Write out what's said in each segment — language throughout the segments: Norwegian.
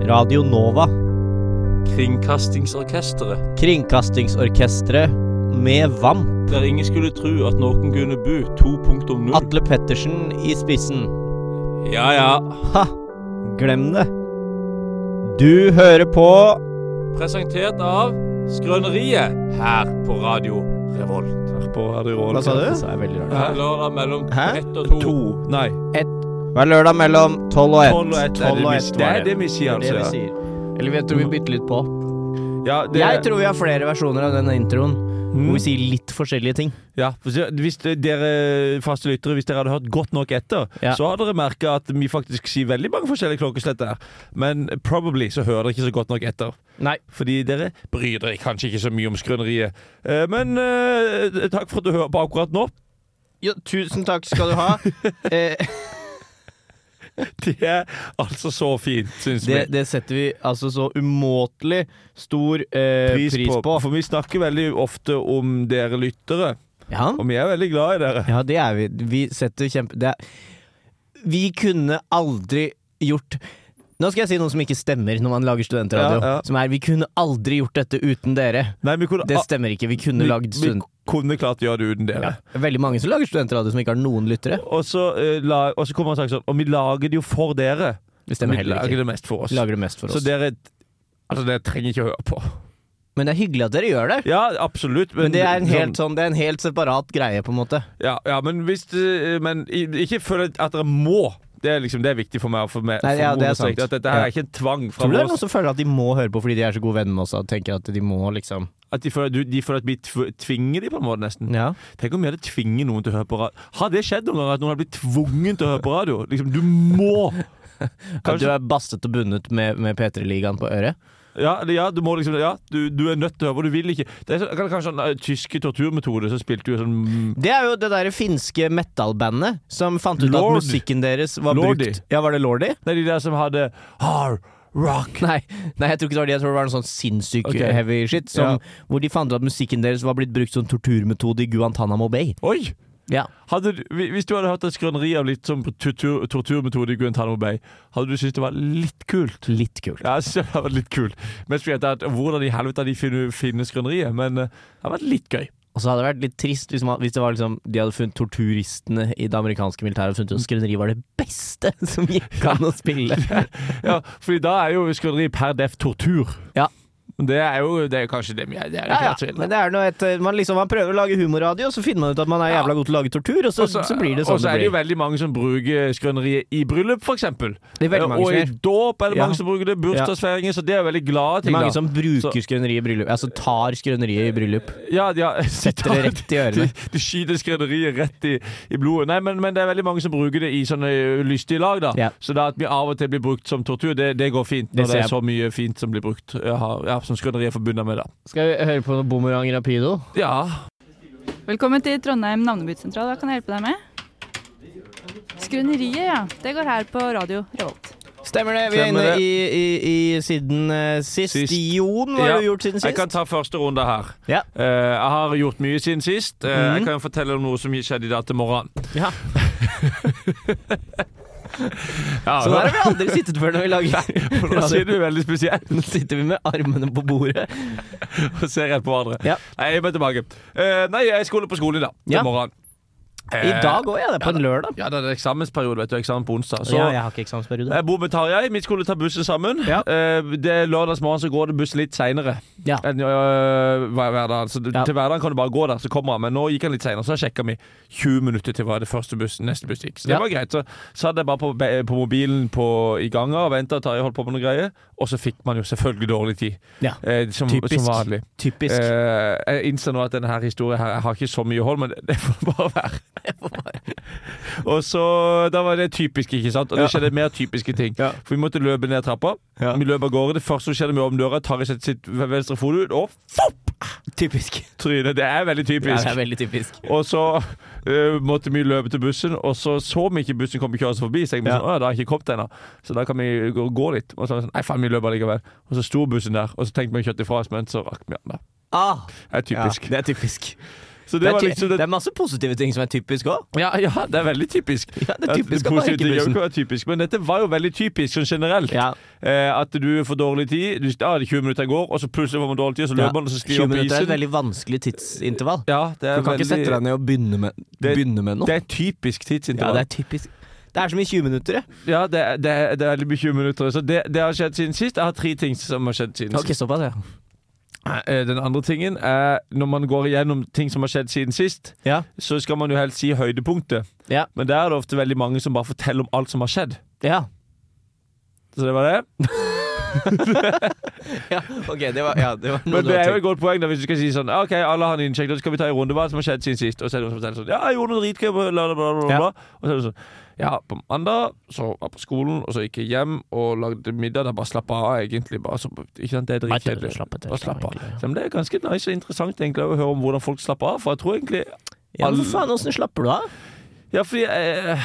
Radio Nova, Kringkastingsorkestret, Kringkastingsorkestret med VAMP. der ingen skulle tro at noen kunne bo 2.0. Atle Pettersen i spissen. Ja ja, Ha! Glem det. Du hører på presentert av Skrøneriet her på Radio Revolt. På Radio Roll. Hva sa du? Det sa jeg veldig rart. Lørdag mellom Hæ? ett og to. To. Nei. Hver lørdag mellom tolv og ett. Tolv og ett. Tolv og ett, Det var er det vi sier, Det er det vi altså. sier. Eller jeg tror vi bytter litt på. Ja, det, Jeg tror vi har flere versjoner av den introen hvor Mm. vi sier litt forskjellige ting. Ja, for så- hvis dere faste lyttere, hvis dere hadde hørt godt nok etter, Ja. så hadde dere merka at vi faktisk sier veldig mange forskjellige klokkeslett der. Men probably så hører dere ikke så godt nok etter. Nei. Fordi dere bryr dere kanskje ikke så mye om skrøneriet. Eh, Men eh, takk for at du hører på akkurat nå. Jo, tusen takk skal du ha. Eh, Det er altså så fint, syns vi. det, det setter vi altså så umåtelig stor eh, pris, på. For vi snakker veldig ofte om dere lyttere, Ja. og vi er veldig glad i dere. ja, det er vi. Vi setter kjempe... Det er. Vi kunne aldri gjort Nå skal jeg si noe som ikke stemmer når man lager studentradio. Ja, ja. Som er vi kunne aldri gjort dette uten dere. Nei, vi kunne, Det stemmer ikke. Vi kunne vi, lagd vi student... kunne klart å gjøre det uten dere. Ja. Veldig mange som lager studentradio som ikke har noen lyttere. Og så, eh, la, og så kommer han og sier sånn Og vi lager det jo for dere. Det Vi stemmer heller lager ikke. det mest for oss. Lager det mest for Så oss. dere Altså, dere trenger ikke å høre på. Men det er hyggelig at dere gjør det. Ja, absolutt. Men det er en helt, sånn, det er en helt separat greie, på en måte. ja, ja, men hvis eh, Men i- ikke føl at dere må. Det er liksom, det er viktig for meg å få med. Nei, ja, få det er understreket sant. At dette her Ja. er ikke en tvang fra Tror du det er noen oss. som føler at de må høre på fordi de er så gode venner med oss og tenker at de må, liksom? At de føler, du, de føler at vi tv- tvinger de på en måte, nesten. Ja. Tenk om vi hadde tvinget noen til å høre på radio. Har det skjedd noen gang at noen har blitt tvungen til å høre på radio? Liksom, du må! At du Kanskje, er bastet og bundet med, med P3-ligaen på øret? ja, eller ja, du må liksom Ja, du, du er nødt til å høre på. Du vil ikke. Det er så, kanskje sånn eh, tyske torturmetoder, så spilte du sånn Det er jo det derre finske metal-bandet som fant ut Lord. at musikken deres var Lordi. brukt Ja, var det Lordi? Nei, de der som hadde hard rock. Nei, nei, jeg tror ikke det var det. Jeg tror det var noe sånn sinnssyk Ok. eh, heavy shit. Som, Hvor de fant ut at musikken deres var blitt brukt som torturmetode i Guantánamo Bay. Oi! Ja. Hadde, du- hvi- hvis du hadde hørt et skrøneri av litt sånn tortur, torturmetode i Guantánamo Bay, hadde du syntes det var litt kult? Litt kult. Ja, jeg synes det hadde vært litt kult. Mest fordi at det er at hvordan i helvete de finner, finner skrøneriet, men eh, det hadde vært litt gøy. Og så hadde det vært litt trist hvis, man, hvis det var liksom, de hadde funnet torturistene i det amerikanske militæret og funnet ut at skrøneri var det beste som gikk an å spille. Ja, fordi da er jo skrøneri per def tortur. Ja. Men Det er jo det er jo kanskje det vi er. Det er jo Ja, ikke ja. helt så ille. Men det er noe et, man, liksom, man prøver å lage humorradio, så finner man ut at man er jævla god til å lage tortur, og så, Og så- så blir det sånn Og så er det det jo blir. veldig mange som bruker skrøneriet i bryllup, for eksempel. Eh, Det er veldig mange og som i gjør. dåp er det Ja. mange som bruker det, bursdagsfeiringer, så det er veldig glade Det er ting. mange da. som bruker skrøneri i bryllup, altså tar skrøneriet i bryllup. Ja, ja, de Setter det tar- rett i ørene. De, de skyter skrederiet rett i, i blodet. Nei, men, men det er veldig mange som bruker det i sånne ø, lystige lag, da. Ja. Så da at vi av og til blir brukt som tortur, det, det går fint. Det Når ser det, jeg. er så mye fint som blir brukt, ø, har- ja, som skrederi er forbundet med, da. Skal vi høre på noe Boomerang Rapido? Ja. Velkommen til Trondheim navnebytesentral. Hva kan jeg hjelpe deg med? Skrøneriet, ja. Det går her på radio Revolt. Stemmer det. Vi er Stemmer inne det. i, i, i siden eh, sist. Sist. Jon, hva har Ja. du gjort siden Jeg sist? kan ta første runde her. Ja. Eh, jeg har gjort mye siden sist. Eh, Jeg Mhm. kan fortelle om noe som skjedde i dag til morgenen. Ja. Ja, Sånn her har vi aldri sittet før når vi lager for nå sier du veldig spesielt. Nå sitter vi med armene på bordet. og ser rett på hverandre. Ja. Nei, jeg er tilbake. Eh, nei, jeg skulle på skolen i dag. Til Ja. morgenen. I Eh, dag òg, ja. Det er på en lørdag. Ja, det er eksamensperiode, vet du. Eksamen på onsdag. Så Eh, ja, jeg har ikke eksamensperiode. jeg bor med Tarjei. Vi skulle ta bussen sammen. Ja. Eh, det er lørdagsmorgen, så går det buss litt seinere Ja. enn øh, hver hverdagen. Så Ja. til hverdagen kan du bare gå der, så kommer han. Men nå gikk han litt seinere, så sjekka vi 20 minutter til hva det første bussen, neste buss gikk. Så det Ja. var greit. Så satt jeg bare på, be- på mobilen på, i ganga og venta, Tarjei holdt på med noe greier. Og så fikk man jo selvfølgelig dårlig tid. Ja. Eh, som, Typisk. som vanlig. Typisk. Eh, jeg innser nå at denne her historien her, jeg har ikke så mye hold, men det- det får det bare være. og så, Da var det typisk, ikke sant? Og det skjedde mer typiske ting. Ja. For vi måtte løpe ned trappa. Ja. Vi løp av gårde. Det første som skjedde med åpen døra, Tarjei setter sitt venstre fot ut, og typisk. trynet. Det er veldig Ja, typisk. det er veldig typisk. og så eh, måtte vi løpe til bussen, og så så vi ikke bussen komme kjørende forbi. Så jeg ja. Ja. sånn, «Å, da har jeg ikke kommet ennå, så da kan vi gå, gå litt. Og så, var jeg sånn, nei faen, vi løper likevel. Og så sto bussen der, og så tenkte vi å kjøre fra oss, men så rakk vi den. da. Ah, Det er typisk. Ja, det er typisk. Så Det det var er, liksom ty- det det er masse positive ting som er typisk òg. ja, ja, det er veldig typisk. Ja, det er typisk at at man ikke positive ting bussen. kan være typisk, Men dette var jo veldig typisk sånn generelt. Ja. Eh, at du får dårlig tid. Du, ja, det er 20 minutter går, og så plutselig får man dårlig tid, og så løper man, og så skriver 20 man på minutter er et isen. veldig vanskelig tidsintervall. Ja, det Du er kan ikke sette deg ned og begynne med, Det- begynne med noe. Det er typisk Ja, tidsintervall. det er typisk. Det er som i 20 minutter, jeg. Ja, det er, det er, det er veldig mye 20 minutter. Så det, det har skjedd siden sist. Jeg har tre ting som har skjedd siden Ok, såpass, ja. sist. Eh, Den andre tingen er når man går igjennom ting som har skjedd siden sist, Ja. så skal man jo helst si høydepunktet. Ja. Men der er det ofte veldig mange som bare forteller om alt som har skjedd. ja. Så det var det. Ja, ok, det var, ja, det var noe Men du det hadde er jo et tenkt. godt poeng da hvis du skal si sånn OK, alle har en innsjekk, da skal vi ta en runde hva som har skjedd siden sist. Og så er det noen som forteller sånn Ja, jeg gjorde noe dritgøy, bla, bla, bla, bla, bla. Og så er det sånn Ja, på mandag så var jeg på skolen, og så gikk jeg hjem og lagde middag. Da bare slappa av, egentlig. Bare, så, ikke sant, det er dritkjedelig. Bare slapp av. Så, men det er ganske nice og interessant egentlig å høre om hvordan folk slapper av, for jeg tror egentlig Ja, men for faen, åssen slapper du av? ja, fordi jeg,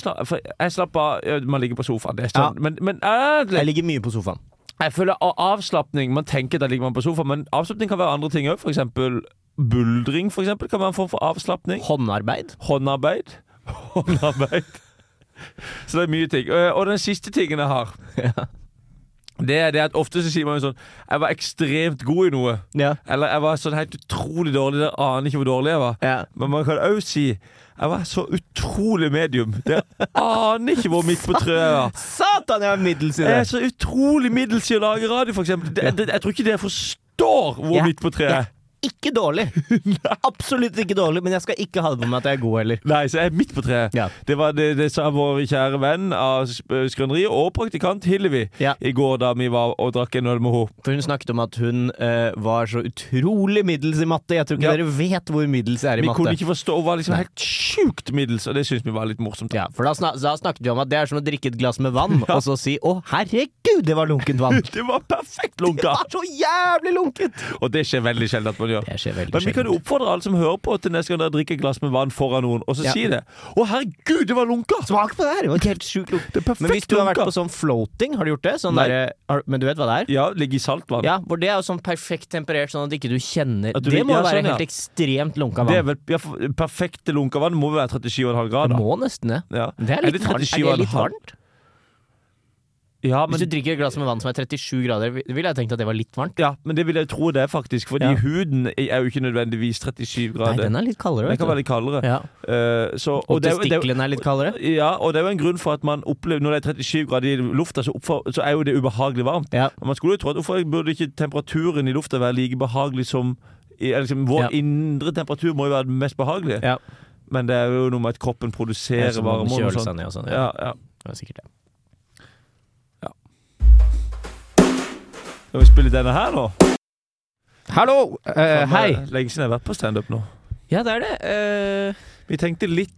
slapp, for jeg slapper av ja, Man ligger på sofaen, det er sånn. Men, men jeg, Jeg ligger mye på sofaen. jeg føler av- avslapning Man tenker da ligger man på sofaen, men avslapning kan være andre ting òg. For eksempel buldring for eksempel, kan være en form for avslapning. Håndarbeid. Håndarbeid. Håndarbeid. Så det er mye ting. Eh, Og den siste tingen jeg har, det er det at ofte så sier man jo sånn Jeg var ekstremt god i noe. Ja. Eller jeg var sånn helt utrolig dårlig. Dere aner ikke hvor dårlig jeg var. Ja. Men man kan òg si jeg var så utrolig medium. Dere aner ikke hvor midt på trøet jeg var. Satan, jeg var middels i Jeg er det! så utrolig middels i å lage radio, for eksempel. Det, det, jeg tror ikke dere forstår hvor Ja. midt på trøet jeg er. Ikke dårlig. Absolutt ikke dårlig, men jeg skal ikke ha det på meg at jeg er god heller. Nei, så jeg er midt på treet. Ja. Det var det, det sa vår kjære venn av Sp- Skrøneriet og praktikant Hillevi Ja. i går da vi var og drakk en øl med henne. For hun snakket om at hun eh, var så utrolig middels i matte. Jeg tror ikke Ja. dere vet hvor middels jeg er i Vi kunne matte. ikke forstå. Hun var liksom helt sjukt middels, og det syns vi var litt morsomt. Ja, for da, snak da snakket vi om at det er som å drikke et glass med vann, og så si 'Å, herregud, det var lunkent vann'. Det var perfekt Det lunka! var så jævlig lunkent! Og det skjer veldig sjelden at man gjør. Det skjer veldig Men vi kan jo oppfordre alle som hører på, til neste gang dere drikker et glass med vann foran noen, og så Ja. si det. Å, herregud, det var lunka! Smak på det her! Det var helt sjukt lunkent. Det er perfekt Men hvis du har vært lunka. på sånn floating, har du gjort det? Sånn Nei. derre- har, men du vet hva det er? Ja, ligge i saltvann. Ja, hvor det er jo sånn perfekt temperert, sånn at ikke du kjenner At du Det vil- må ja, være sånn, ja. helt ekstremt lunka Det er vann. vel ja, for- Perfekte lunka vann må vel være 37,5 Det grader. må nesten det. Ja. Det er Er litt, det varmt. er 37,5? det litt varmt. Ja, Hvis men, du drikker et glass med vann som er 37 grader, ville jeg tenkt at det var litt varmt. ja, men det vil jeg tro det er, faktisk. Fordi Ja. huden er jo ikke nødvendigvis 37 Nei, grader. den er litt kaldere. Den kan være Vet du. litt kaldere. Ja. Eh, så, Og, det er jo- det er jo- testiklene er litt kaldere. Ja, og det er jo en grunn for at man opplever Når det er 37 grader i lufta, så, oppfor- så er jo det ubehagelig varmt. Ja. Og Man skulle jo tro at hvorfor burde ikke temperaturen i lufta være like behagelig som i- eller liksom, Vår Ja. indre temperatur må jo være den mest behagelige, Ja. men det er jo noe med at kroppen Det er produserer som om varme og kjøler sånn. seg ned og sånn. Ja. Ja, ja. Det var sikkert det. Skal vi spille denne her nå? Hallo! eh, Faen, det hei! er Lenge siden jeg har vært på standup nå. Ja, det er det. eh, Vi tenkte litt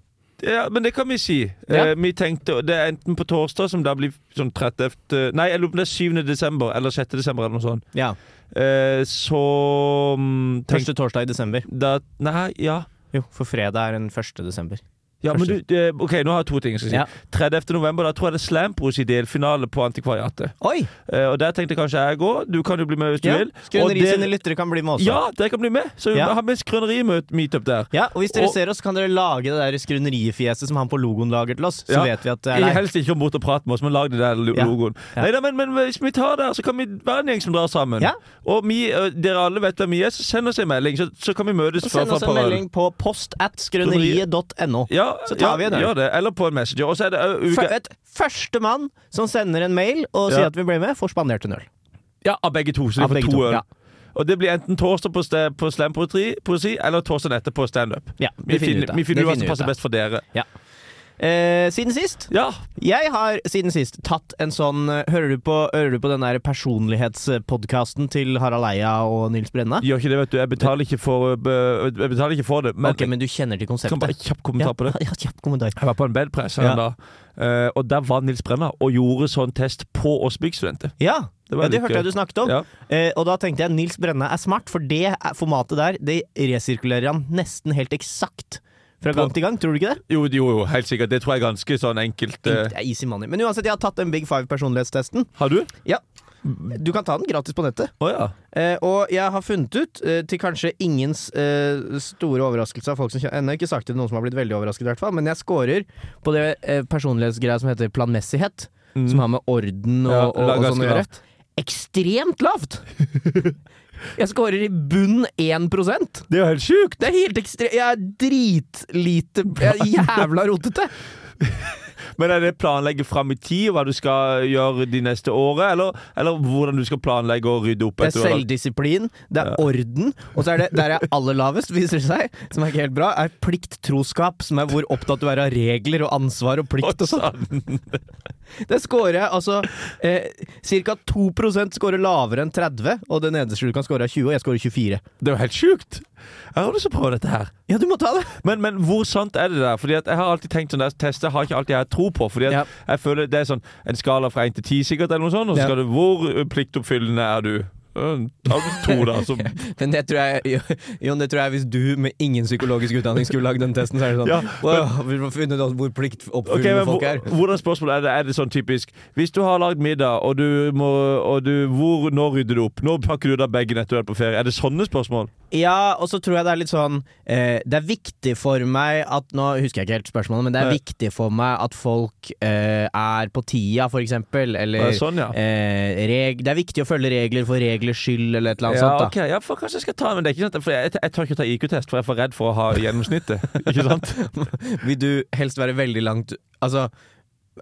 ja, men det kan vi si. Ja. Eh, vi tenkte, Det er enten på torsdag, som da blir sånn 30 Nei, jeg lurer på om det er 7. desember eller 6. desember eller noe sånt. ja. Eh, så mm, tenk, Første torsdag i desember. da, Nei, ja. Jo, for fredag er den 1. desember. ja men du, Første. eh, OK, nå har jeg to ting jeg skal si. Ja. 30. november, da tror jeg det er Slampros i delfinale på Antikvariatet. Oi! Eh, og der tenkte jeg kanskje jeg går. Du kan jo bli med hvis du Ja. vil. Og Skrøneri dere- sine lyttere kan bli med også. Ja, dere kan bli med! Så Ja. vi har med skrøneri-meetup der. Ja, og hvis dere Og- ser oss, kan dere lage det der skrønerifjeset som han på logoen lager til oss. Så Ja. vet vi at det er Jeg deg. helst ikke kom bort og prate med oss, men lag den der lo- Ja. logoen. Ja. Neida, men, men hvis vi tar der, så kan vi være en gjeng som drar sammen. Ja. Og vi, ø, dere alle vet hvem vi er, så send oss en melding, så, så kan vi møtes. Og for- Send for oss et en par øl. melding på post at skrøneriet.no. Ja, så tar ja, vi en øl. Gjør det. Eller på en Messenger. Og så er det ø, uka Førstemann som sender en mail og Ja. sier at vi ble med, får spandert en øl. Ja, av begge to. Så de Av får begge to, to, øl. ja. Og det blir enten torsdag på, st på slam poetri, poesi, eller torsdag etter på standup. Ja, Vi finner, ut av. vi finner Det ut hva som finner vi passer ut av. best for dere. Eh, siden sist Ja, Jeg har siden sist tatt en sånn eh, Hører du på, hører du på den der personlighetspodkasten til Harald Eia og Nils Brenna? Gjør ikke det, vet du. Jeg betaler ikke for, ø, jeg betaler ikke for det. Men, ok, men du kjenner til kan bare konseptet? kjapp kommentar på det. Ja, ja, kjapp kommentar. Jeg var på en bedpress her Ja. en dag, eh, og der var Nils Brenna og gjorde sånn test på oss byggstudenter. Ja, det, Det var ja, det litt hørte jeg gøy. du snakket om. Ja. Eh, og da tenkte jeg Nils Brenna er smart, for det er- formatet der Det resirkulerer han nesten helt eksakt fra gang til gang. Tror du ikke det? Jo, jo, jo, helt sikkert. Det tror jeg er ganske sånn enkelt. eh. Det er easy money. Men uansett, jeg har tatt den Big Five-personlighetstesten. Har du? Ja Du kan ta den gratis på nettet. Å ja. Eh, og jeg har funnet ut, eh, til kanskje ingens eh, store overraskelse av folk som kjenner Ennå ikke sagt det til noen som har blitt veldig overrasket, i hvert fall, men jeg scorer på det eh, personlighetsgreia som heter planmessighet. Som har med orden og, Ja, og, la- og ganske sånn å gjøre. lavt. Ekstremt lavt! jeg scorer i bunn 1 Det Det er jo helt sjukt! er helt ekstremt Jeg er dritlite Jeg er jævla rotete! Men er det planlegge fram i tid hva du skal gjøre de neste året, eller, eller hvordan du skal planlegge å rydde opp? Det er etter du har lagt- selvdisiplin, det er orden, og så er det der jeg er aller lavest, viser det seg, som er ikke helt bra, er plikttroskap, som er hvor opptatt du er av regler og ansvar og plikt og sånn. Det scorer jeg altså eh, Ca. 2 scorer lavere enn 30, og det nederste du kan score, er 20, og jeg scorer 24. Det er jo helt sjukt! Jeg har lyst til å prøve dette her. Ja, du må ta det! Men, men hvor sant er det der? Fordi at Jeg har alltid tenkt sånn der, tester har ikke alltid jeg tro på. Fordi at Ja. jeg føler Det er sånn en skala fra 1 til 10 sikkert, eller noe sånt. Og så Ja. skal du Hvor ø, pliktoppfyllende er du? Ø, Ta to, da. Så, Men det tror jeg, Jon, det tror jeg hvis du med ingen psykologisk utdanning skulle lagd den testen, så er det sånn Ja, «Wow, Vi må finne ut hvor Ok, pliktoppfyllende men folk hvor, er. Hvordan spørsmål er det? Er det sånn typisk Hvis du har lagd middag, og du må og du, hvor, Nå rydder du opp. Nå pakker du da begge nettopp er på ferie. Er det sånne spørsmål? Ja, og så tror jeg det er litt sånn eh, Det er viktig for meg at Nå husker jeg ikke helt spørsmålet, men det er Nei. viktig for meg at folk eh, er på tida, for eksempel. Er Eller det sånn, ja? eh, reg, Det er viktig å følge regler for reglers skyld, eller et eller annet Ja, sånt. da ok, ja, for kanskje jeg skal ta Men det er ikke sant For jeg, jeg tør ikke ta IQ-test, for jeg er for redd for å ha gjennomsnittet. Ikke sant? Vil du helst være veldig langt Altså,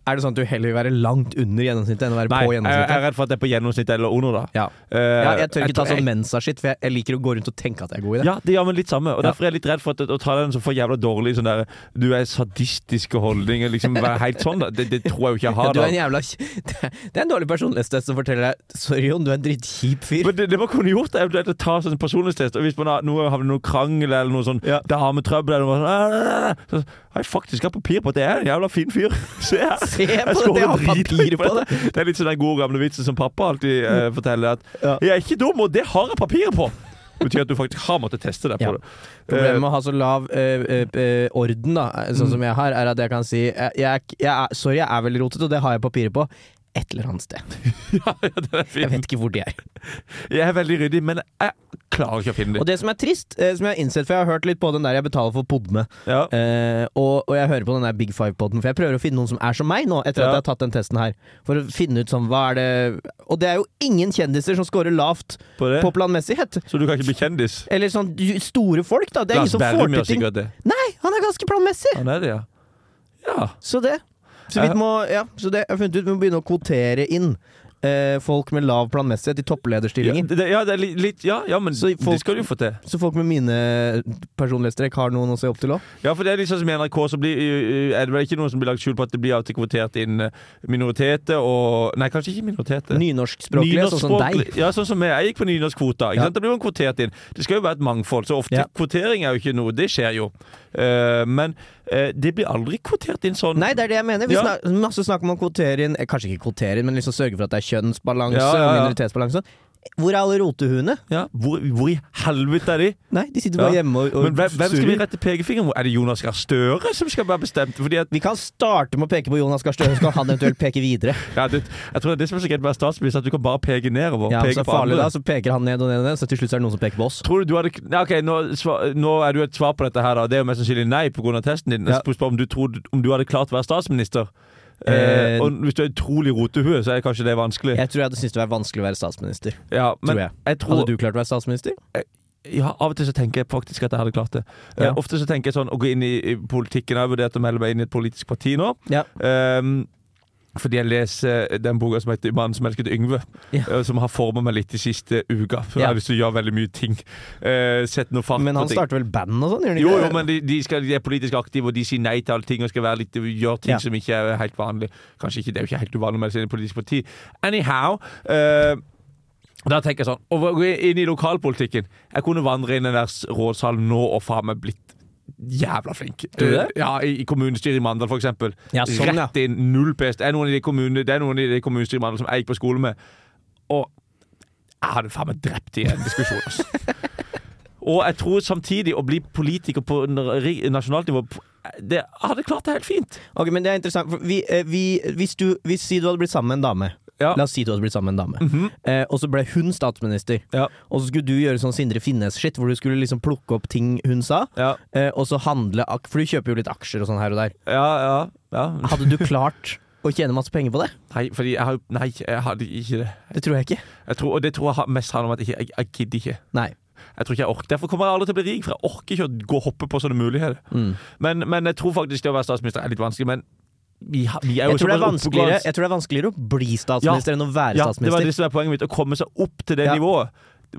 er det sånn at du heller vil være langt under gjennomsnittet enn å være på Nei, jeg, jeg er gjennomsnittet? redd for at det er på gjennomsnittet eller under, da. Ja. Eh, ja, jeg tør ikke ta tror sånn Mensa-shit, for jeg, jeg liker å gå rundt og tenke at jeg er god i det. Ja, det gjør meg litt samme. Og Ja. Derfor er jeg litt redd for at, å ta den som får jævla dårlig sånn der Du er sadistiske holdninger, liksom være helt sånn, da. Det, det tror jeg jo ikke jeg Ja, har. du er en da. jævla Det er- det er en dårlig personlighetstest som forteller deg Sorry, Jon, du er en drittkjip fyr. Men det, det man kunne gjort, er eventuelt å ta sånn personlighetstest. Og hvis man har noe, har noe krangel eller noe sånn Ja. dametrøbbel eller noe sånn, ah, sånt så, Har jeg faktisk har papir på at jeg er en jævla fin fyr. Se her. Se på Jeg det, scorer jeg har drithøyt papir på det! Mm. dette. Det er litt sånn den gode gamle vitsen som pappa alltid eh, forteller. At Ja. 'jeg er ikke dum, og det har jeg papiret på'. Det betyr at du faktisk har måttet teste deg Ja. på det. Problemet Eh, Mm. med å ha så lav eh, eh, eh, orden, da, eh, sånn som jeg har, er at jeg kan si jeg, jeg, er- jeg er, Sorry, jeg er veldig rotete, og det har jeg papirer på. Et eller annet sted. Eh, ja, den er fin. Jeg vet ikke hvor de er. Jeg er veldig ryddig, men jeg klarer ikke å finne Og det. det som er trist, eh, som jeg har innsett, for jeg har hørt litt på den der jeg betaler for podme, Ja. eh, og, og jeg hører på den der Big Five-poden, for jeg prøver å finne noen som er som meg nå, etter at Ja. jeg har tatt den testen her, for å finne ut sånn, hva er det Og det er jo ingen kjendiser som scorer lavt På det. på planmessighet. Så du kan ikke bli kjendis? Eller sånn j- store folk, da. Det er ingen som får Berrum til gjør ting. sikkert det. Nei, han er ganske planmessig! Han er det, ja. Ja. Så det. Så Jeg- vidt må, ja, så det, jeg har funnet ut vi må begynne å kvotere inn eh, folk med lav planmessighet i Ja, topplederstillinger. det, ja, det er li- litt, ja, ja men Så folk- det skal du jo få til. Så folk med mine personlighetstrekk har noen å se opp til òg. Ja, for det er litt sånn som i NRK, så blir, ø, ø, er det vel ikke noen som blir lagt skjul på at det blir alltid kvotert inn ø, minoriteter og Nei, kanskje ikke minoriteter. Nynorskspråklige, sånn som deg. Nynorskspråklig- Ja, sånn som meg. Jeg gikk på nynorskkvota. Ja. Ja. Da blir man kvotert inn. Det skal jo være et mangfold, så ofte Ja. kvotering er jo ikke noe. Det skjer jo. Eh, men eh, det blir aldri kvotert inn sånn. Nei, det er det jeg mener. Vi Ja. snak, masse snakk om å kvotere inn eh, Kanskje ikke kvotere inn, men liksom sørge for at det er kjønnsbalanse Ja, og ja, ja. minoritetsbalanse. Hvor er alle rotehuene? Ja, hvor, hvor i helvete er de? Nei, de sitter bare Ja. hjemme og, og Men hvem, hvem skal vi surrer. rette pekefingeren mot? Er det Jonas Gahr Støre som skal være bestemt? Fordi at, Vi kan starte med å peke på Jonas Gahr Støre, så kan han eventuelt peke videre. ja, det, jeg tror det er det som er så greit med å være statsminister, at du kan bare peke nedover. Ja, peke så på farlig andre. da, så peker han ned og ned og ned, så til slutt så er det noen som peker på oss. Tror du du hadde Nei, ok, nå, sva- nå er du et svar på dette her, da. Det er jo mest sannsynlig nei pga. testen din. Ja. Jeg spør om du, tror, om du hadde klart å være statsminister. Eh, Eh, og hvis du er utrolig rotehue, så er kanskje det vanskelig. Jeg tror jeg hadde syntes det var vanskelig å være statsminister. Ja, men tror jeg. tror Hadde du klart å være statsminister? Ja, av og til så tenker jeg faktisk at jeg hadde klart det. Eh, Ja. ofte så tenker jeg sånn å gå inn i, i politikken. Jeg har vurdert å melde meg inn i et politisk parti nå. Ja. Ehm, fordi jeg leser eh, den boka som heter 'Mannen som elsket Yngve', Ja. eh, som har forma meg litt de siste uka. Så Ja. Jeg har lyst til å gjøre veldig mye ting. Eh, sett noe fart Men på han ting. starter vel band og sånn? gjør han ikke Jo, jo, det? men de, de, skal, de er politisk aktive, og de sier nei til alle ting og skal være litt, gjøre ting Ja. som ikke er helt vanlig. Kanskje ikke, det er jo ikke helt uvanlig å melde seg inn i politisk parti. Anyhow. eh, da tenker jeg sånn Å gå inn i lokalpolitikken Jeg kunne vandre inn i den der s- rådsalen nå og faen meg blitt jævla flink. Tror du det? Eh, Ja, I, i kommunestyret i Mandal, for eksempel. Ja, sånn, ja. Rett inn, null pest. Det er noen i det kommune- det er noen i det kommunestyret i Mandal som jeg gikk på skole med. Og jeg hadde faen meg drept i en diskusjon, altså. Og jeg tror samtidig å bli politiker på n- ri- nasjonalt nivå Det jeg hadde klart det helt fint. Ok, men det er interessant. for Vi, eh, vi, hvis du hvis, si du hadde blitt sammen med en dame, Ja. Mhm. La oss si du hadde blitt sammen med en dame. eh, og så ble hun statsminister. Ja. Og så skulle du gjøre sånn Sindre Finnes-shit, hvor du skulle liksom plukke opp ting hun sa, Ja, eh, og så handle ak For du kjøper jo litt aksjer og sånn her og der. ja, ja, ja. Hadde du klart å tjene masse penger på det? Nei, fordi jeg har jo Nei, jeg hadde ikke det. Det tror jeg ikke. Jeg tror, og det tror jeg har- mest handler om at jeg, ikke- jeg, jeg gidder ikke. Nei. Jeg tror ikke jeg orker Derfor kommer jeg aldri til å bli rik, for jeg orker ikke å gå og hoppe på sånne muligheter. Mm. Men, men jeg tror faktisk det å være statsminister er litt vanskelig. Men vi, har- vi er jo Jeg tror, det er såpass vanskeligere, oppegående- jeg tror det er vanskeligere å bli statsminister enn å være Ja, det var statsminister. det som var poenget mitt. Å komme seg opp til det Ja. nivået.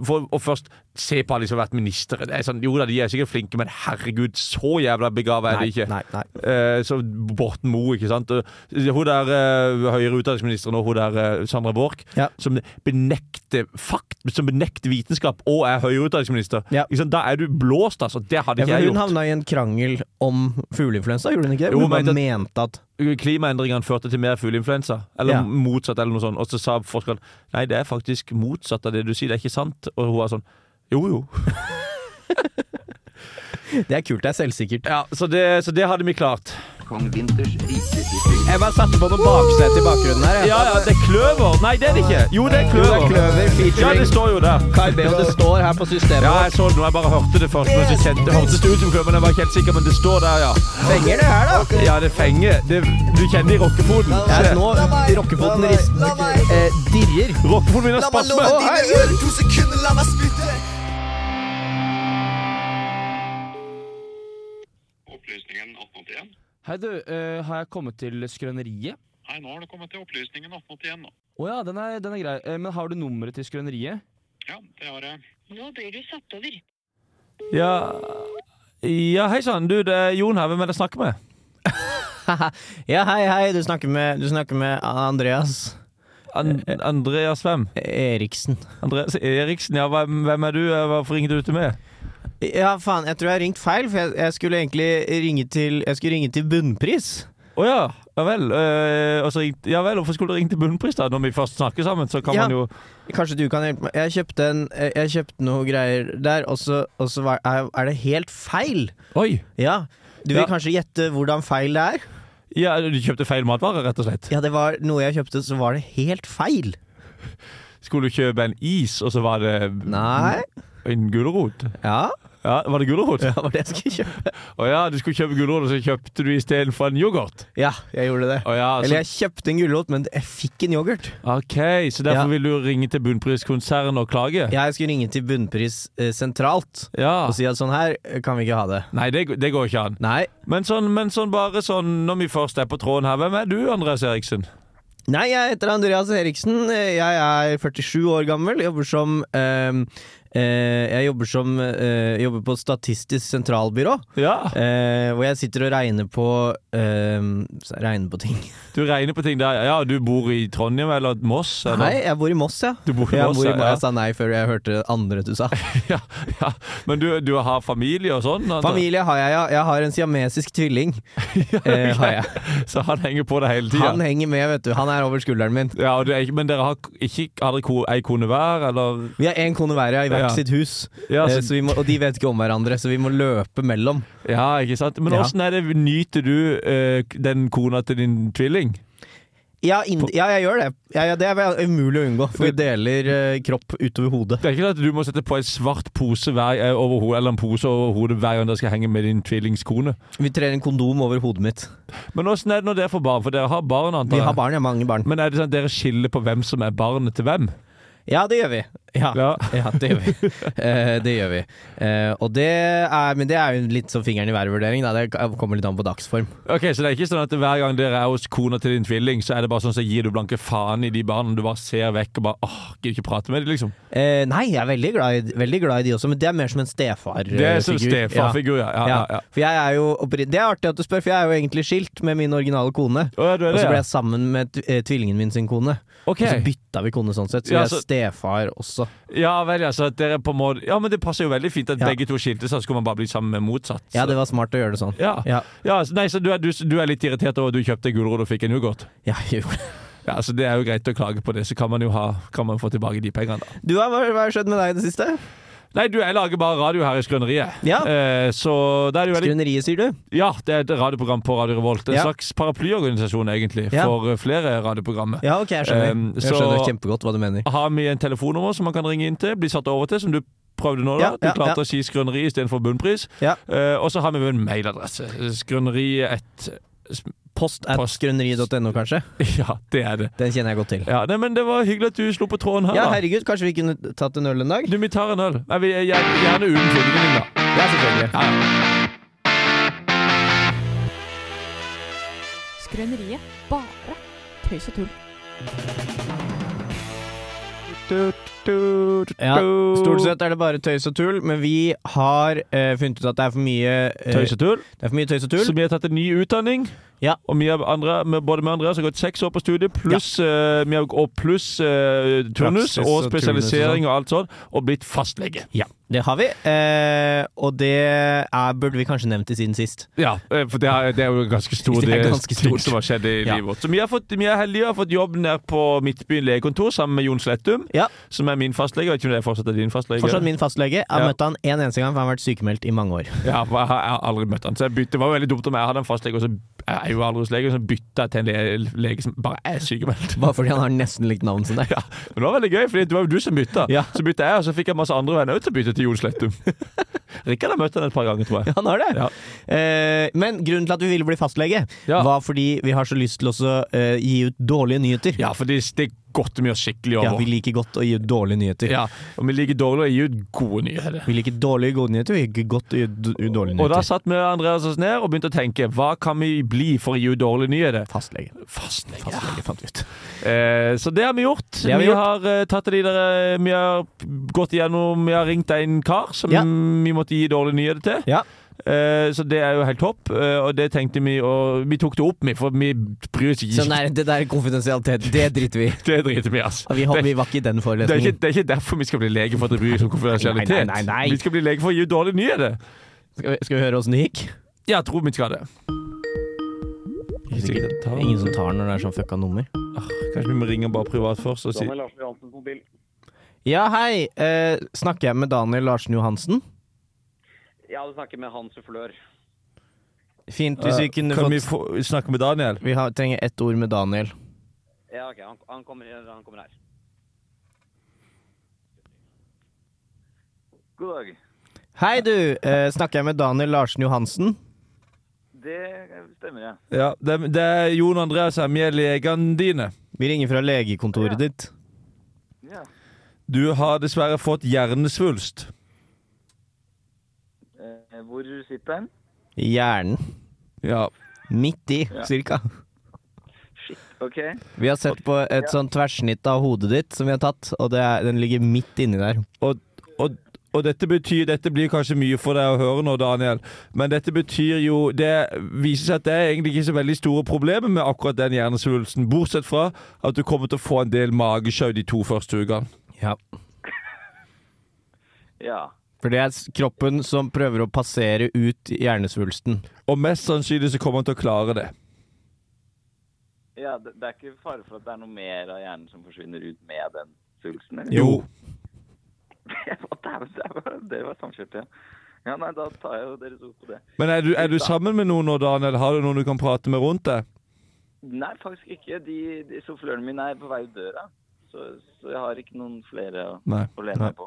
For å først se på alle de som har vært ministre. Det er sånn, jo da, de er sikkert flinke, men herregud, så jævla begava er de ikke. Nei, nei, nei. Eh, så Borten Moe, ikke sant. Og Hun der eh, høyere utdanningsministeren og hun der eh, Sandra Borch, Ja. som benekter fakt, som benekter vitenskap og er høyere utdanningsminister. Ja. Ikke sant? Da er du blåst, altså. Det hadde Ja, ikke for jeg hun gjort. havna i en krangel om fugleinfluensa, gjorde hun ikke det? Jo, Hun men bare det- mente at Klimaendringene førte til mer fugleinfluensa, eller Ja. motsatt, eller noe sånt. Og så sa forskeren nei, det er faktisk motsatt av det du sier, det er ikke sant. Og hun var sånn jo, jo. Det er kult, det er selvsikkert. Ja, så det, så det hadde vi klart. Kong Vinters rikeste Jeg bare satte på noe baksete i bakgrunnen her. Ja, ja, det er kløver! Nei, det er det ikke. Jo, Det det er er kløver. kløver Ja, det featuring står jo der. Kai B, og det står her på systemet. Ja, jeg så det nå. Jeg bare hørte det først. Men så kjente, det hørtes det ut som kløver, men jeg var ikke helt sikker. Men det står der, ja. Fenger det her, da? Ja, det fenger. Det, du kjenner det i rockefoten. Ja, Se. nå rockefoten ris- eh, dirrer. Rockefoten min har spasme. Å, herregud. Opplysningen 1881? Hei, du. eh, har jeg kommet til Skrøneriet? Nei, nå har det kommet til opplysningen 1881 nå. Å ja, den er, den er grei. Eh, men har du nummeret til Skrøneriet? Ja, det har jeg. Nå blir du satt over. Ja, ja hei sann. Du, det er Jon her. Hvem er det jeg snakker med? Ja, hei, hei, du snakker med, du snakker med Andreas An Eh, Andreas hvem? Eriksen. Andreas Eriksen, ja. Hvem, hvem er du? Eh, Hvorfor ringte du til meg? Ja, faen, jeg tror jeg har ringt feil, for jeg, jeg skulle egentlig ringe til Jeg skulle ringe til Bunnpris. Å ja. Ja vel. øh, og så ringte, ja vel, hvorfor skulle du ringe til Bunnpris, da? Når vi først snakker sammen, så kan Ja. man jo Kanskje du kan hjelpe meg. Jeg kjøpte, en, jeg kjøpte noe greier der, og så, og så var, er er det helt feil. Oi! Ja. Du vil Ja. kanskje gjette hvordan feil det er? Ja, du kjøpte feil matvarer, rett og slett. Ja, det var noe jeg kjøpte, så var det helt feil. Skulle du kjøpe en is, og så var det Nei. en gulrot? Ja, Ja, var det gulrot? det var det jeg skulle kjøpe. Å ja, du skulle kjøpe gulrot, og så kjøpte du istedenfor en yoghurt? Ja, jeg gjorde det. Å ja, altså- så, Eller jeg kjøpte en gulrot, men jeg fikk en yoghurt. OK, så derfor Ja. vil du ringe til Bunnpriskonsernet og klage? Jeg skulle ringe til Bunnpris eh, sentralt Ja. og si at sånn her eh, kan vi ikke ha det. Nei, det, det går ikke an. Nei. Men sånn, men sånn bare sånn, når vi først er på tråden her, hvem er du, Andreas Eriksen? Nei, jeg heter Andreas Eriksen. eh, Jeg er 47 år gammel. Jobber som eh, eh, Jeg jobber som eh, Jobber på Statistisk sentralbyrå. Ja. Eh, hvor jeg sitter og regner på eh, Regner på ting. Du regner på ting der. Ja, du bor i Trondheim eller Moss? Eller? Nei, jeg bor i Moss, ja. Du bor i Jeg Moss, bor i ja, Moss. ja. Jeg sa nei før jeg hørte det andre du sa. ja, ja. Men du, du har familie og sånn? altså? Familie har jeg, ja. Jeg har en siamesisk tvilling. eh, har jeg. Så han henger på deg hele tida? Han henger med, vet du. Han er over skulderen min. Ja, og det er ikke, men dere har k- ikke Har dere ko- ei kone hver, eller? Vi har én kone hver ja, i hvert Ja. sitt hus, Ja, eh, så, så vi må, og de vet ikke om hverandre, så vi må løpe mellom. ja ikke sant? Men Ja. åssen er det? Nyter du eh, den kona til din tvilling? Ja, ind ja jeg gjør det. Ja, ja, det er vel umulig å unngå, for vi deler eh, kropp utover hodet. Det er ikke sånn at du må sette på en svart pose hver, eh, over hodet, eller en pose over hodet hver gang dere skal henge med din tvillingskone. Vi trer en kondom over hodet mitt. Men åssen er det når dere får barn? For dere har barn, antar Vi jeg? har barn, ja. Mange barn. Men er det sånn at dere skiller på hvem som er barnet til hvem? Ja, det gjør vi. Ja. Ja. Ja, det gjør vi. Eh, det gjør vi. Eh, og det er, men det er jo litt sånn fingeren i været-vurdering. da. Det kommer litt an på dagsform. Ok, Så det er ikke sånn at hver gang dere er hos kona til din tvilling, så er det bare sånn så gir du blanke faen i de barna. Du bare ser vekk og bare åh, gidder ikke prate med dem, liksom. Eh, nei, jeg er veldig glad, i, veldig glad i de også, men det er mer som en eh, stefarfigur. Det er som stefarfigur, ja. ja, ja, ja. For jeg er jo oppri- Det er artig at du spør, for jeg er jo egentlig skilt med min originale kone. Å, ja, du er Og det, så ble ja. jeg sammen med t- eh, tvillingen min sin kone. Og Ok. så bytta vi kone sånn sett, så Ja, jeg er så- stefar også. Ja vel, ja. Så at dere på en måte Ja, men det passer jo veldig fint at Ja. begge to skilte seg, så skulle man bare bli sammen med motsatt. Ja, det var smart å gjøre det sånn. ja. Ja, ja så- nei, så du er, du, du er litt irritert over at du kjøpte gulrot og fikk en yoghurt? ja jo. Ja, så det er jo greit å klage på det, så kan man jo ha, kan man få tilbake de pengene, da. Du, hva hva har skjedd med deg i det siste? Nei, du, jeg lager bare radio her i Skrøneriet. Ja. Eh, så det er jo veldig Skrøneriet, sier du? Ja, det er et radioprogram på Radio Revolt. En Ja. slags paraplyorganisasjon, egentlig, Ja. for eh, flere radioprogrammer. Ja, ok, jeg skjønner. Um, jeg så- skjønner kjempegodt hva du mener. Har vi en telefonnummer som man kan ringe inn til, bli satt over til, som du prøvde nå, Ja, da. Du ja, klarte ja. å si skrøneri istedenfor bunnpris. Ja. Eh, og så har vi jo en mailadresse. Skrøneriet Post at Post. skrøneriet.no, kanskje? Ja, det er det. Den kjenner jeg godt til. Ja, nei, men Det var hyggelig at du slo på tråden her. Ja, da. herregud, kanskje vi kunne tatt en øl en dag? Du, vi tar en øl. Nei, vi, jeg, gjerne uten fingeren din, da. Ja, selvfølgelig. Skrøneriet. Bare tøys og tull. Ja, Stort sett er det bare tøys og tull, men vi har eh, funnet ut at det er for mye eh, Tøysetull. Det er for mye tøys og Så tull. vi har tatt en ny utdanning. Ja. Og vi har andre, med, både med Andreas har gått seks år på studiet, pluss, eh, vi har, og pluss eh, turnus Praksis og og turnus og spesialisering og alt sånn, og blitt fastlege. Ja, det har vi. Eh, og det er, burde vi kanskje nevnt i siden sist. Ja, eh, for det er, det er jo ganske stor Det er del ganske ting stort. som har skjedd i Ja. livet vårt. Så vi er, fått, vi er heldige og har fått jobb nede på Midtbyen legekontor sammen med Jon Slettum, Ja. som er min fastlege. Jeg vet ikke om det er fortsatt er din fastlege. Fortsatt min fastlege. Jeg har Ja. møtt han en eneste gang, for han har vært sykemeldt i mange år. Ja, for jeg har, jeg har aldri møtt han. Så jeg bytte, det var jo veldig dumt om jeg hadde en fastlege, og så jeg er jo aldri hos lege, og så bytta jeg til en le lege som bare er sykemeldt. Bare fordi han har nesten likt navnet sitt der. Ja, men det var veldig gøy, for det var jo du som bytta. Ja. Så bytta jeg, og så fikk jeg masse andre venner ut til å bytte til Jon Slettum. Rikard har møtt han et par ganger, tror jeg. Han har det. Ja. Eh, men grunnen til at vi ville bli fastlege, Ja. var fordi vi har så lyst til å så, eh, gi ut dårlige nyheter. Ja, for det, det er godt vi gjør skikkelig Ja, over. vi liker godt å gi ut dårlige nyheter. Ja, og vi liker dårlig å gi ut gode nyheter. Vi liker dårlige gode nyheter, vi liker godt å gi ut d- ut dårlige Og da nyheter. satt vi Andreas oss ned og begynte å tenke hva kan vi bli for å gi ut dårlige nyheter? Fastlege. Fastlege. Fastlege fant vi ut. Eh, så det har vi gjort. Det har vi vi, gjort. har eh, tatt det videre. Vi har gått igjennom Vi har ringt en kar som Ja. vi måtte gi dårlige nyheter til. Ja. Eh, så det er jo helt topp, eh, og det tenkte vi og Vi tok det opp, vi, for vi bryr oss ikke. Så nei, det der er konfidensialitet, det driter vi i. Det driter vi i, altså. Vi, har- Det- vi var ikke i den Det er, ikke, forelesningen. det er ikke derfor vi skal bli lege for at det bryr oss om Nei, konfidensialitet. nei, nei, nei. Vi skal bli lege for å gi ut dårlige nyheter. Skal vi, skal vi høre åssen det gikk? Ja, jeg tror vi skal det. Ikke sikkert jeg tar den. Ingen som tar den når det er sånn fucka nummer. Kanskje vi må ringe bare privat først og si Daniel Larsen Johansens mobil. Ja, hei. Eh, snakker jeg med Daniel Larsen Johansen? Ja, du snakker med Hans Sufflør. Fint hvis vi kunne Eh, Kan vi fått få, snakke med Daniel? Vi har, trenger ett ord med Daniel. Ja, ok, han, han, kommer, han kommer her. God dag. Hei, du. Eh, snakker jeg med Daniel Larsen Johansen? Det stemmer, ja. Ja, det, det er Jon Andreas her, vi er legene dine. Vi ringer fra legekontoret ditt. ja. Du har dessverre fått hjernesvulst. Eh, hvor sitter han? I hjernen. Ja. Midt i, cirka. Ok. Vi har sett på et sånn tverrsnitt av hodet ditt som vi har tatt, og det er, den ligger midt inni der. Og, og, og dette betyr Dette blir kanskje mye for deg å høre nå, Daniel, men dette betyr jo Det viser seg at det er egentlig ikke så veldig store problemer med akkurat den hjernesvulsten, bortsett fra at du kommer til å få en del magesjau de to første ukene. Ja. Ja. For det er s- kroppen som prøver å passere ut hjernesvulsten. Og mest sannsynlig så kommer han til å klare det. ja det, det er ikke fare for at det er noe mer av hjernen som forsvinner ut med den svulsten? eller? Jo. Hva dæven, det var, det var samkjørt, ja. Ja, nei, da tar jeg jo deres ord på det. Men er du, er du sammen med noen nå, Daniel? Har du noen du kan prate med rundt deg? Nei, faktisk ikke. De, de Souffløren min er på vei ut døra. Så, så jeg har ikke noen flere å, Nei. å lene Nei. meg på.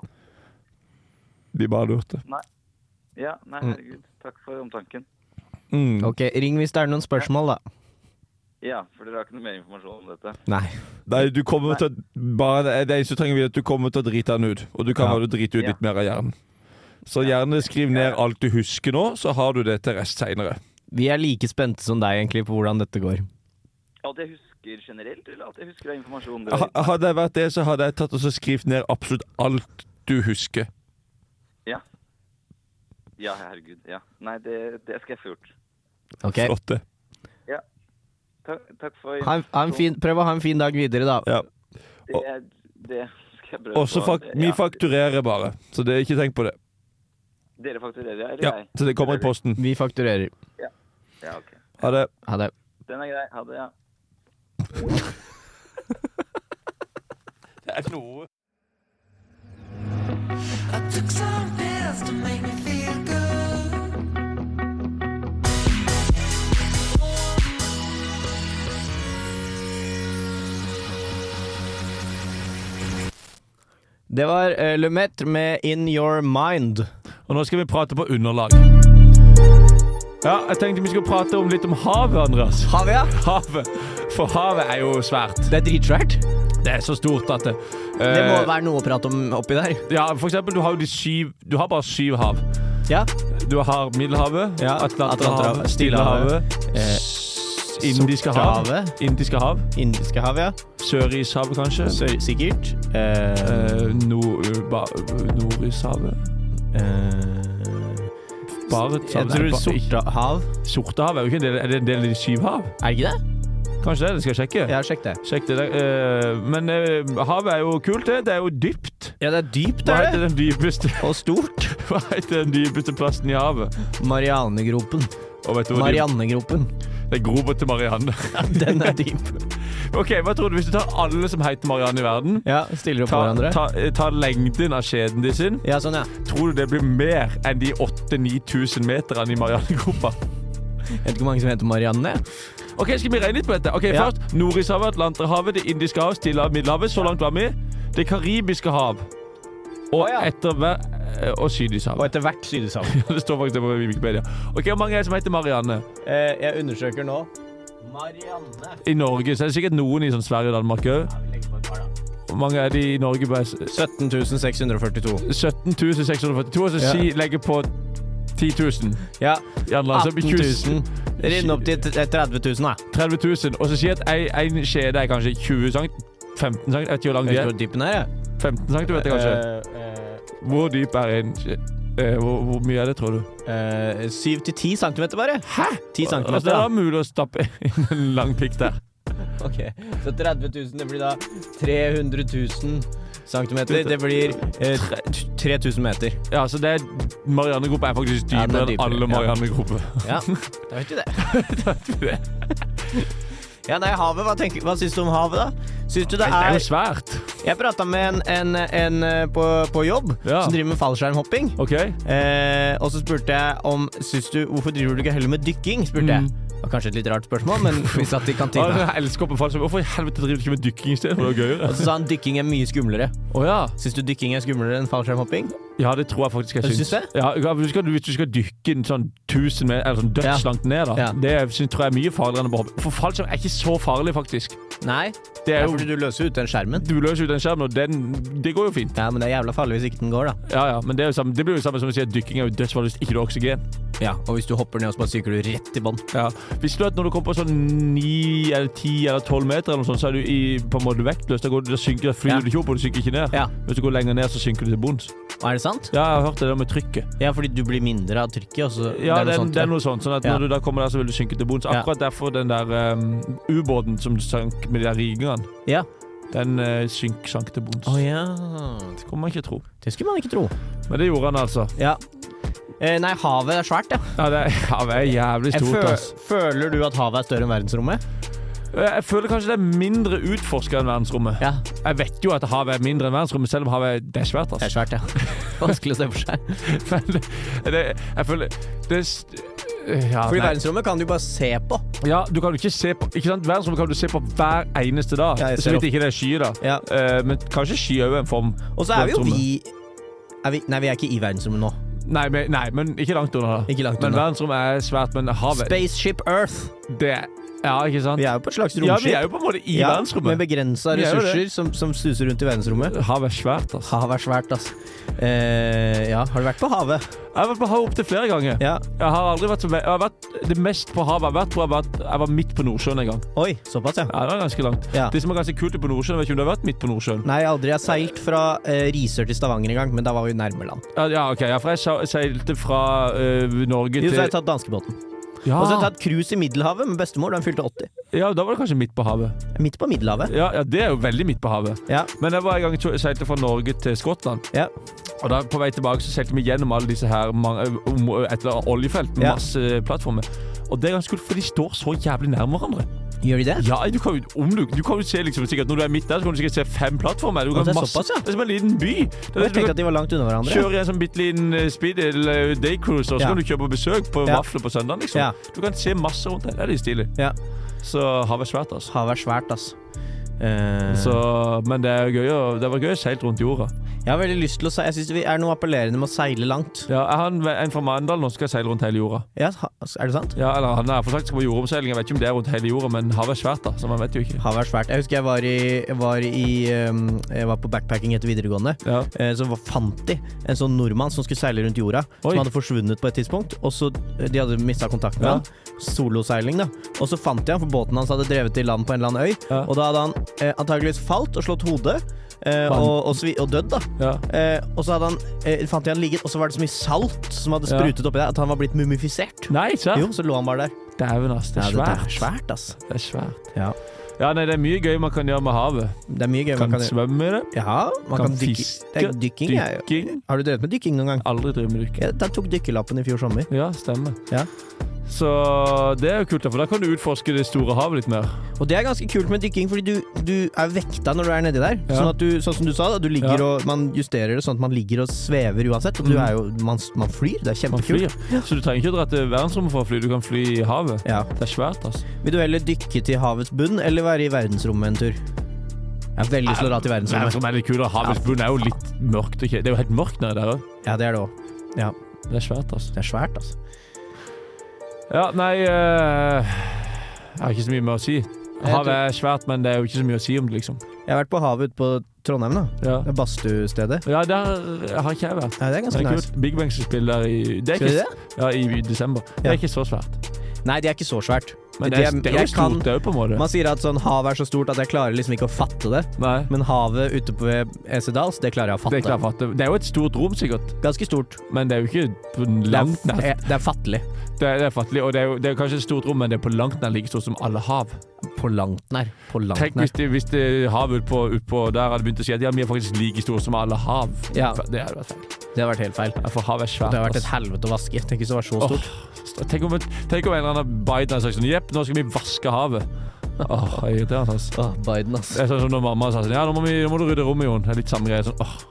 De bare lurte. Ja, nei, herregud. Takk for omtanken. Mm. Ok, ring hvis det er noen spørsmål, da. Ja, for dere har ikke noe mer informasjon om dette. Nei. Nei, du kommer til å bare, eh, Det eneste du trenger å vite, er at du kommer til å drite den ut. Og du kan Ja. bare drite ut Ja. litt mer av hjernen. Så gjerne skriv ned alt du husker nå, så har du det til rest seinere. Vi er like spente som deg, egentlig, på hvordan dette går. Alt jeg husker generelt, eller alt jeg husker av informasjon? Det, Hadde jeg vært det, så hadde jeg tatt og så skrevet ned absolutt alt du husker. ja, herregud. Ja. Nei, det, det skal jeg få gjort. Ok? Flott, det. Takk, takk for Ha en, ha en fin, prøv å ha en fin dag videre, da. Ja. Det, det skal jeg prøve Og så fak Det- vi ja. fakturerer bare, så det ikke tenk på det. Dere fakturerer, ja, eller Ja, jeg? Så det kommer i posten. Vi fakturerer. Ja, ok. Ha det. Ha det. Den er grei. Ha det, ja. Det er noe Det var eh, Le Maître med In Your Mind. Og nå skal vi prate på underlag. Ja, jeg tenkte vi skulle prate om litt om havet, Andreas. Havet, ja. Havet. For havet er jo svært. Det er dritsvært. Det er så stort at det Det må eh, være noe å prate om oppi der. Ja, for eksempel, du har jo de syv Du har bare syv hav. Ja. Du har Middelhavet, Ja, Atlanterhavet, Atlanterhavet, Stillehavet, Eh, s- Indiske hav, Sortehavet. Indiske hav Indiske hav, ja. Sørishavet, kanskje. Sør sikkert. Eh, Nord- ba- Nordishavet. Bare et jeg hav. Eh, tror Nei, ba- ikke- Sortehav. Sortehavet er jo ikke en del, er det en del av de syv hav? Er det ikke det? Kanskje det? Det skal jeg sjekke. Ja, sjekk det. Sjekk det der. Eh, men eh, havet er jo kult, det. Det er jo dypt. Ja, det er dypt, Hva er heter det. den dypeste, Og stort. hva heter den dypeste plassen i havet? Marianegropen. Og vet du hva dyp- Mariannegropen. Det er gropa til Marianne. Den er dyp. Ok, hva tror du Hvis du tar alle som heter Marianne i verden, Ja, stiller opp ta, hverandre. ta, eh, ta lengden av skjeden de sin, Ja, sånn, ja. tror du det blir mer enn de 8000-9000 meterne i Marianne-gropa? Jeg vet ikke hvor mange som heter Marianne. Ok, Skal vi regne litt på dette? Ok, Ja. Først Nordishavet, Atlanterhavet, Det indiske hav, Stillehavet, Middelhavet. Så langt var vi. Det karibiske hav. Og etter hver eh, Og Sydishavet. etter hvert Sydishavet. Det står faktisk det på Wikipedia. Ok, Hvor mange er det som heter Marianne? Eh, jeg undersøker nå. Marianne. I Norge så er det sikkert noen i sånn Sverige og Danmark òg. Hvor mange er de i Norge? Bare s- 17 642. 17 642, og så Ja. si, legge på 10 000. Ja, I andre land, så 18 blir det 20 000. Rinn opp til t- 30 000, da. 30 000. Og så si at ei- en skjede er kanskje 20 cm. 15 cm, jeg vet ikke hvor lang de Vet du er. hvor dypen er? 15 cm, vet jeg kanskje. Eh. Hvor dyp er en skje- eh, hvor, hvor mye er det, tror du? 7 Eh, til 10 centimeter, bare. Hæ? 10 Altså, det centimeter, er da da. mulig å stappe inn en lang pikk der. Ok, Så 30 000, det blir da 300 000 centimeter. Det blir eh, 3000 meter. Ja, så det er Marianne-gruppa er faktisk Ja, den er dypere enn dypere, alle ja. Marianne-grupper. Ja, da vet du det. det. Ja, nei, havet, hva, tenker, hva syns du om havet, da? Syns du det Det er er jo svært. Jeg prata med en, en, en eh, på, på jobb Ja. som driver med fallskjermhopping. OK? Eh, og så spurte jeg om syns du, Hvorfor driver du ikke heller med dykking? spurte jeg. Mm. Det var kanskje et litt rart spørsmål, men vi satt i Ja, kantina. jeg elsker å på fallskjerm. Hvorfor i helvete driver du ikke med dykking i stedet? Det var gøyere. Og så sa han dykking er mye skumlere. Å ja. Syns du dykking er skumlere enn fallskjermhopping? Ja, det tror jeg faktisk jeg Ja, du syns. syns det? Ja, ja, hvis, du skal, hvis du skal dykke en sånn 1000 meter, eller sånn dødslangt ned, da, Ja. det syns, tror jeg er mye farligere enn å bare hoppe. For fallskjerm er ikke så farlig, faktisk. Nei, Det det er er jo, fordi du løser ut den skjermen. du løser jo den skjermen, og den, det går jo fint. Ja, men det er jævla farlig hvis ikke den går, da. Ja, ja, men det, er jo samme, det blir jo samme som å si at dykking er jo dødsfarlig hvis ikke du har oksygen. Ja, Og hvis du hopper ned, og så bare psyker du rett i bånn. Ja. Visste du at når du kommer på sånn 9 eller 10 eller 12 meter, eller noe sånt, så er du i, på en måte vektløs? Da, går, du- da synker, da flyr Ja. du ikke opp, og du synker ikke ned. Ja. Hvis du går lenger ned, så synker du til bunns. Og er det sant? Ja, jeg har hørt det der med trykket. Ja, fordi du blir mindre av trykket, og så Ja, det er, sånt, det er noe sånt. Sånn at Ja. når du da kommer der, så vil du synke til bunns. Ja. Akkurat derfor den der um, ubåten som sank med de der rigingene, Ja. den eh, synk, sank til bunns. Å ja. Det kommer man ikke tro. Det skulle man ikke tro. Men det gjorde han, altså. Ja. Eh, nei, havet er svært, ja. Ja, det er, ja, det er jævlig Jeg stort, føl- ass. føler du at havet er større enn verdensrommet? Jeg føler kanskje det er mindre utforska enn verdensrommet. Ja, Jeg vet jo at havet er mindre enn verdensrommet, selv om havet er, det er svært. det er Altså. svært, ja. Vanskelig å se for seg. Men det, det, jeg føler det er st- ja, For i nei. verdensrommet kan du bare se på. ja, du kan jo ikke se på Ikke sant? Verdensrommet kan du se på hver eneste dag. Ja, jeg så ser vidt ikke det er skyer, da. Ja. Eh, men kanskje sky er jo en form Og så er vi jo Verdensrommet. vi, er vi Nei, vi er ikke i verdensrommet nå. Nei, men, nei, men ikke langt under. da. Ikke langt Men unna. verdensrommet er svært, men havet Spaceship Earth. det er- Ja, ikke sant? Vi er jo på et slags Ja, vi romskip. er jo på en måte i Ja, verdensrommet. Med begrensa Vi er jo det. ressurser som, som suser rundt i verdensrommet. Havet er svært, altså. Havet er svært, ass. Eh, ja, har du vært på havet? Jeg har vært på havet opptil flere ganger. Ja. Jeg har aldri vært så ve- Jeg har vært det mest på havet jeg har vært, tror jeg har vært Jeg var midt på Nordsjøen en gang. Oi, såpass, ja. Ja, det var ganske langt. Ja. Det som er ganske kult på Nordsjøen, jeg vet ikke om du har vært midt på Nordsjøen? Nei, aldri. Jeg har seilt fra eh, Risør til Stavanger en gang, men da var vi nærme land. Ja, Ja, ok, ja, for jeg sa- seilte fra eh, Norge Jo, til så har jeg tatt danskebåten. ja. Og så har jeg tatt cruise i Middelhavet med bestemor da hun fylte 80. ja, da var det kanskje midt på havet. Midt på Middelhavet. Ja, ja det er jo veldig midt på havet. Ja. Men jeg var en gang to- seilte fra Norge til Skottland. Ja. Og da på vei tilbake så seilte vi gjennom alle disse her man- om- et eller annet oljefelt med Ja. masse plattformer. Og det er ganske kult, for de står så jævlig nærme hverandre. Gjør de det? Ja, du kan, jo- om du, du kan jo se liksom sikkert Når du er midt der, så kan du sikkert se fem plattformer. Du Å, kan det er masse, såpass, ja. det er som en liten by. Det Og jeg er, du tenkte kan at de var langt unna hverandre. kjøre i en sånn bitte liten eh, speedil eh, daycruiser, så Ja. kan du kjøre på besøk på Ja. vafler på søndag. Liksom. Ja. Du kan se masse rundt der. Det er litt stilig. Ja. Så havet er svært, altså. Havet er svært, ass. Eh, Så, men det, er gøy, å- det var gøy å seile rundt jorda. Jeg har veldig lyst til å se Jeg syns det er noe appellerende med å seile langt. Ja, jeg har en, en fra Mandal nå som skal seile rundt hele jorda. Ja, ha- er det sant? Ja, eller han er for sagt skal på jordomseiling. Jeg vet ikke om det er rundt hele jorda, men havet er svært, da. Så man vet jo ikke. Havet er svært. Jeg husker jeg var i, jeg var, i ehm, jeg var på backpacking etter videregående. Ja. Eh, Så var- fant de en sånn nordmann som skulle seile rundt jorda. Oi. Som hadde forsvunnet på et tidspunkt. Og så eh, De hadde mista kontakten med Ja. han. Soloseiling, da. Og så fant de han, for båten hans hadde drevet til land på en eller annen øy. Ja. Og da hadde han eh, antakeligvis falt og slått hodet. Eh, Vann. og, og, svi, og dødd, da. Ja. Eh, og så hadde han, eh, fant de han ligget, og så var det så mye salt som hadde Ja. sprutet oppi der at han var blitt mumifisert. Nei, Jo, serr? så lå han bare der. Dæven, ass. Det Ja, er dette svært. svært, ass. Det er svært. Ja. Ja, nei, det er mye gøy man kan gjøre med havet. Det er mye gøy. Man Kan, kan, svømme i det. ja, man kan, kan dykke. fiske, Det er dykking, jeg. Dykking. Har du drevet med dykking noen gang? Aldri drevet med dykking. Jeg tok dykkerlappen i fjor sommer. Ja, stemmer. Ja. Så det er jo kult, da, for da kan du utforske det store havet litt mer. Og det er ganske kult med dykking, fordi du, du er vekta når du er nedi der. Ja. Sånn, at du, sånn som du sa, da, du ligger Ja. og man justerer det sånn at man ligger og svever uansett. Og du Mm. er jo Man, man flyr. Det er Man kjempekult. flyr. Så du trenger ikke å dra til verdensrommet for å fly, du kan fly i havet. Ja. Det er svært, altså. Vil du heller dykke til havets bunn eller være i verdensrommet en tur? Jeg har veldig lyst til å dra til verdensrommet. Verdensrommet er litt kulere. Havets bunn er jo litt mørkt. Ikke? Det er jo helt mørkt nedi der òg. Ja, det er det òg. Det er svært, altså. Det er svært, altså. Ja, nei eh, Jeg har ikke så mye mer å si. Havet er svært, men det er jo ikke så mye å si om det, liksom. Jeg har vært på havet ute på Trondheim, da. Ja, Det er Badstuestedet. ja der har ikke jeg Nei, vært. det er Det ganske er nice. kult. Big Bang skal spille der i det er Skal de ikke, Ja, i, i desember. Det Ja. er ikke så svært. Nei, det er ikke så svært. Men Det det er, er- det er jo jeg kan- stort, det er jo på en måte. Man sier at sånn havet er så stort at jeg klarer liksom ikke å fatte det. Nei, Men havet ute på ved Esedals, det klarer jeg å det fatte. er klart for at det- Det er jo et stort rom, sikkert, Ganske stort. men det er jo ikke på Det er, eh, langt nær det er- det er fattelig. det er, det er fattelig, og det er, jo, det er kanskje et stort rom, men det er på langt nær like stort som alle hav. På langt nær. På langt Tenk nær. hvis, det, hvis det havet utpå utpå der hadde begynt å si at ja, vi er faktisk like store som alle hav. Ja. Det hadde vært feil. Det har vært helt feil. Ja, For havet er Det svært. har vært ass. et helvete å vaske. Tenk hvis det var så Åh, stort. st- Tenk om, tenk om en eller annen Biden hadde sagt sånn Jepp, nå skal vi vaske havet. Åh, det er irriterende, ass. Åh, Biden, ass. Det er sånn som når mamma sa sånn Ja, nå må, vi, nå må du rydde rommet, Jon. Det er litt samme greie. Sånn, åh.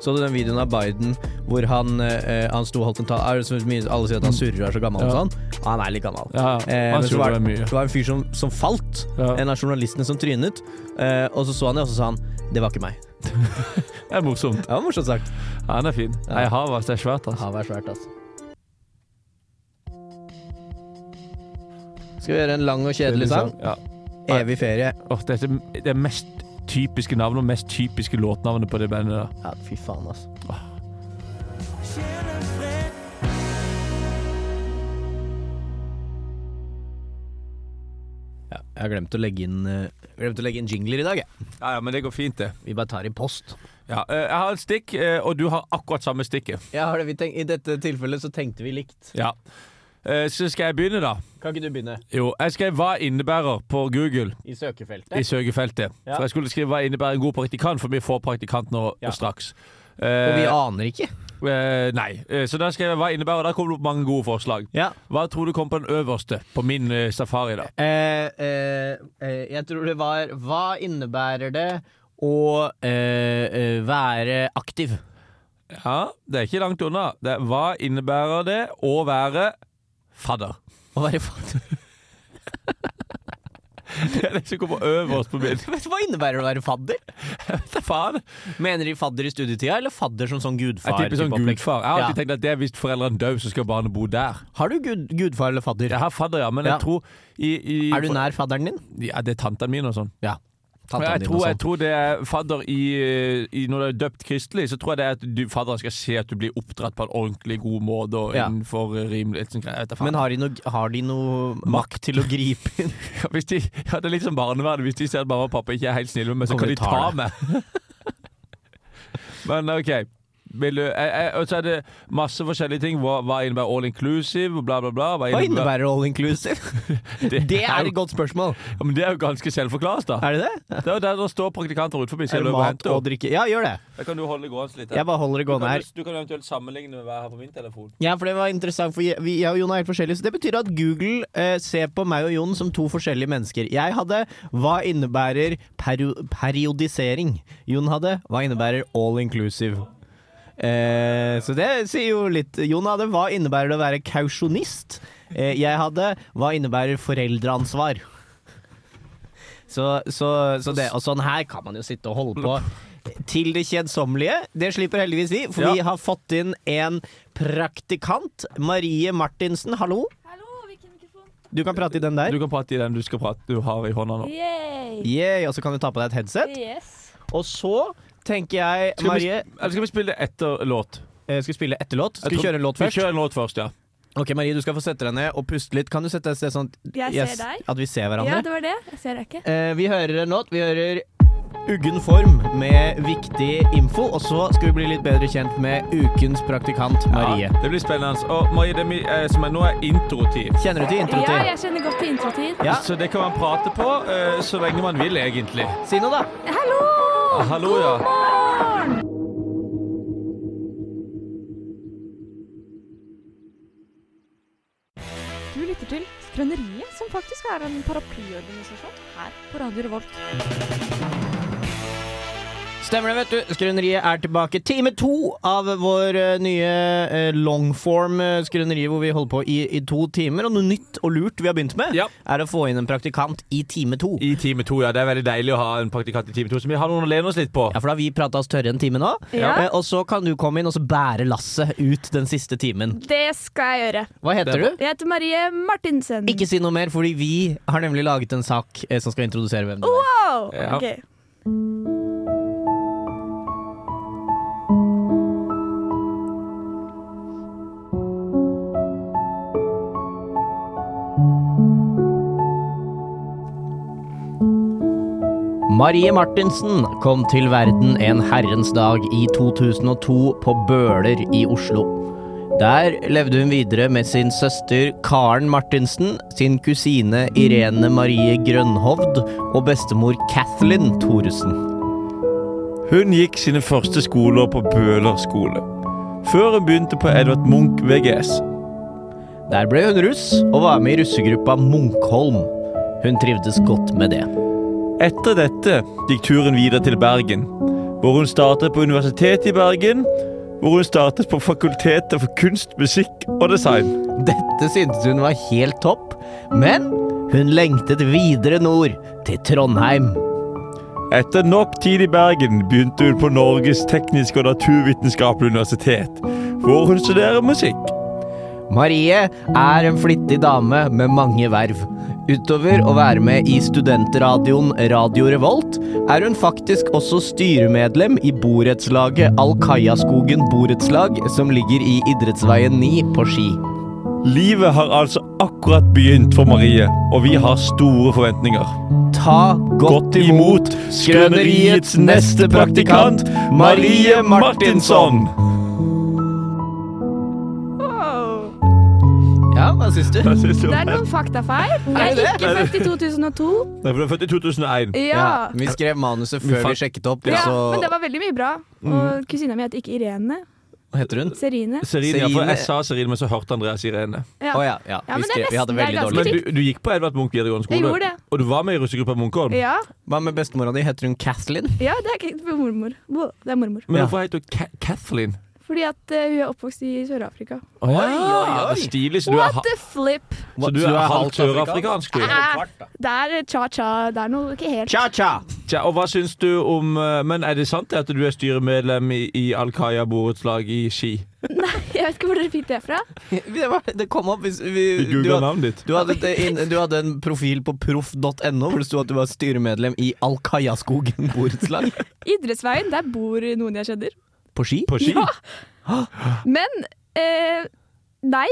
Så du den videoen av Biden hvor han, eh, han sto og holdt en tale Er det så mye- Alle sier at han surrer og er så gammel og Ja. sånn. Han er litt gammel. Ja, Eh, han men så skulle var, det mye. det var en fyr som, som falt. Ja. En av journalistene som trynet. Eh, og så så han det, og så sa han 'det var ikke meg'. Det er morsomt. Det var morsomt sagt. Han er fin. Nei, havet ass, det er svært, ass. Havet er svært, altså. Skal vi gjøre en lang og kjedelig sang? Ja. Evig ferie. Åh, det er det- det er mest typiske navnet og mest typiske låtnavnet på det bandet der. Ja, fy faen, altså. Ja, jeg har glemt å legge inn eh, Glemt å legge inn jingler i dag, jeg. Ja, ja, men det går fint, det. Vi bare tar i post. Ja, eh, jeg har et stikk, eh, og du har akkurat samme stikket. Ja, har det, vi tenk, I dette tilfellet så tenkte vi likt. Ja. Eh, Så skal jeg begynne, da. Kan ikke du begynne? Jo, jeg skrev 'Hva innebærer' på Google I i søkefeltet. søkefeltet. Ja. For jeg skulle skrive 'Hva innebærer en god praktikant', for vi får praktikant nå Ja. straks. Og vi Eh, aner ikke. eh, nei. Eh, Så da skrev jeg 'Hva innebærer', og der kom det opp mange gode forslag. Ja. Hva tror du kom på den øverste på min eh, safari, da? Eh, eh, eh, jeg tror det var Hva innebærer det å eh, eh, være aktiv? Ja, det er ikke langt unna. Det er, hva innebærer det å være fadder? Å være fadder Det er det som kommer øverst på min. Vet du Hva innebærer det å være fadder? Hva faen? Mener de fadder i studietida, eller fadder som sånn gudfar? Jeg tipper sånn type opplegg? gudfar. Jeg har Ja. alltid tenkt at det er hvis foreldrene dør, så skal barnet bo der. Har du gud, gudfar eller fadder? Jeg har fadder, ja, men Ja. jeg tror i, i, Er du nær fadderen din? Ja, det er tantene mine og sånn. Ja. Men Tantene Jeg dine tror, og jeg sånn. tror det er fadder i, i Når det er døpt kristelig, så tror jeg det er at du, fadderen skal se at du blir oppdratt på en ordentlig god måte og Ja. innenfor eh, rimelighet. Jeg vet da faen. Men har de noe, har de noe makt til å gripe inn? Ja, hvis de, ja, det er litt som barnevernet. Hvis de ser at mamma og pappa ikke er helt snille med meg, så Kommer kan de de ta tar meg. Men OK. miljø jeg, jeg, Og så er det masse forskjellige ting. Hva, hva innebærer all inclusive? Bla, bla, bla. Hva innebærer all inclusive? Det er jo- et godt spørsmål. Ja, men det er jo ganske selvforklart, da. Er det det? Det er jo der det står praktikanter utenfor. Er det mat og drikke? Ja, gjør det. Da kan du holde gående litt. her. Jeg bare holder det Du gående kan, her. du kan eventuelt sammenligne med hva jeg har på min telefon. Ja, for det var interessant, for jeg, vi, jeg og Jon er helt forskjellige. Så det betyr at Google eh, ser på meg og Jon som to forskjellige mennesker. Jeg hadde 'hva innebærer perio periodisering'. Jon hadde 'hva innebærer all inclusive'. Eh, så det sier jo litt. Jon hadde 'hva innebærer det å være kausjonist'? Eh, jeg hadde 'hva innebærer foreldreansvar'? Så, så, så det, og sånn her kan man jo sitte og holde på til det kjedsommelige. Det slipper heldigvis vi, for Ja. vi har fått inn en praktikant. Marie Martinsen, hallo. Hallo, hvilken mikrofon? Du kan prate i den Du der. kan prate i den du skal prate du har i hånda nå. Yay! Yeah, og så kan du ta på deg et headset. Yes. Og så tenker jeg, Skal vi- Marie Eller skal vi spille det etter låt? eh, Skal vi spille etterlåt? Skal vi Jeg tror- kjøre en låt Vi først? kjører en låt først, ja. Ok, Marie, du skal få sette deg ned og puste litt. Kan du sette deg et sted sånn at, Jeg ser yes, deg. at vi ser Ja, hverandre? det var det. Jeg ser deg ikke. Eh, vi hører en låt. Vi hører Uggen form med viktig info. Og så skal vi bli litt bedre kjent med ukens praktikant Marie. Ja, det blir spennende. Og Marie, det er mi, eh, som er nå er introtid. Kjenner du til Ja, introtid? jeg kjenner godt til introtid. Ja. Så det kan man prate på eh, så lenge man vil, egentlig. Si noe, da. Hallo! Ah, hallo, ja. Morn! Du lytter til Skrøneriet, som faktisk er en paraplyorganisasjon her på Radio Revolt. Stemmer det, vet du. Skrøneriet er tilbake. Time to av vår eh, nye eh, longform eh, skrøneri, hvor vi holder på i, i to timer. Og noe nytt og lurt vi har begynt med, Ja. er å få inn en praktikant i time to. I time to, ja. Det er veldig deilig å ha en praktikant i time to som vi har noen å lene oss litt på. Ja, for da har vi prata oss tørre en time nå. Ja. Eh, Og så kan du komme inn og så bære lasset ut den siste timen. Det skal jeg gjøre. Hva Det er heter du? Jeg heter Marie Martinsen. Ikke si noe mer, fordi vi har nemlig laget en sak eh, som skal introdusere hvem du er. Wow! Ja. Ok. Marie Martinsen kom til verden en herrens dag i 2002 på Bøler i Oslo. Der levde hun videre med sin søster Karen Martinsen, sin kusine Irene Marie Grønhovd og bestemor Kathleen Thoresen. Hun gikk sine første skoler på Bøler skole. Før hun begynte på Edvard Munch VGS. Der ble hun russ og var med i russegruppa Munkholm. Hun trivdes godt med det. Etter dette gikk turen videre til Bergen, hvor hun startet på Universitetet i Bergen, hvor hun startet på Fakultetet for kunst, musikk og design. Dette syntes hun var helt topp, men hun lengtet videre nord, til Trondheim. Etter nok tid i Bergen begynte hun på Norges tekniske og naturvitenskapelige universitet, hvor hun studerer musikk. Marie er en flittig dame med mange verv. Utover å være med i studentradioen Radio Revolt, er hun faktisk også styremedlem i borettslaget Alkajaskogen borettslag, som ligger i Idrettsveien 9 på Ski. Livet har altså akkurat begynt for Marie, og vi har store forventninger. Ta godt imot Skrøneriets neste praktikant, Marie Martinsson! Ja, hva syns du? Hva syns du om Det er det? noen faktafeil. Jeg er ikke født i 2002. Nei, for du er født i 2001. Ja. Vi skrev manuset før vi sjekket opp, ja. så Men det var veldig mye bra. Og kusina mi heter ikke Irene. Hva heter hun? Serine. Serine, ja, for Serine- jeg sa Serine, men så hørte Andreas Irene. Ja. Å ja, ja. Ja, Vi, men det er skrev, vi hadde nesten- det er veldig ganske dårlig Men du, du gikk på Edvard Munch videregående skole? Jeg gjorde det. Og du var med i russegruppa Munkholm? Ja, Hva med bestemora di? Heter hun Kathleen? ja det er ikke mormor. Wow, Det er mormor. Men Ja. hvorfor heter hun Ka Kathleen? Fordi at eh, hun er oppvokst i Sør-Afrika. Å ja, det er Stilig. Så du er, What ha the flip! så du er halvt sørafrikansk, du. Ah, det er cha-cha. Det er noe ikke helt Cha-cha! Tja, og hva syns du om eh, Men er det sant det at du er styremedlem i, i Al Qaida borettslag i Ski? Jeg vet ikke hvor dere fikk det fra. Det, var- det kom opp hvis vi, Vi du, googla had- navnet ditt. du, hadde, et inn- du hadde en profil på proff.no hvor det sto at du var styremedlem i Alkajaskogen borettslag. Idrettsveien, der bor noen jeg kjenner. På ski? På Ski? Ja. Men eh, nei.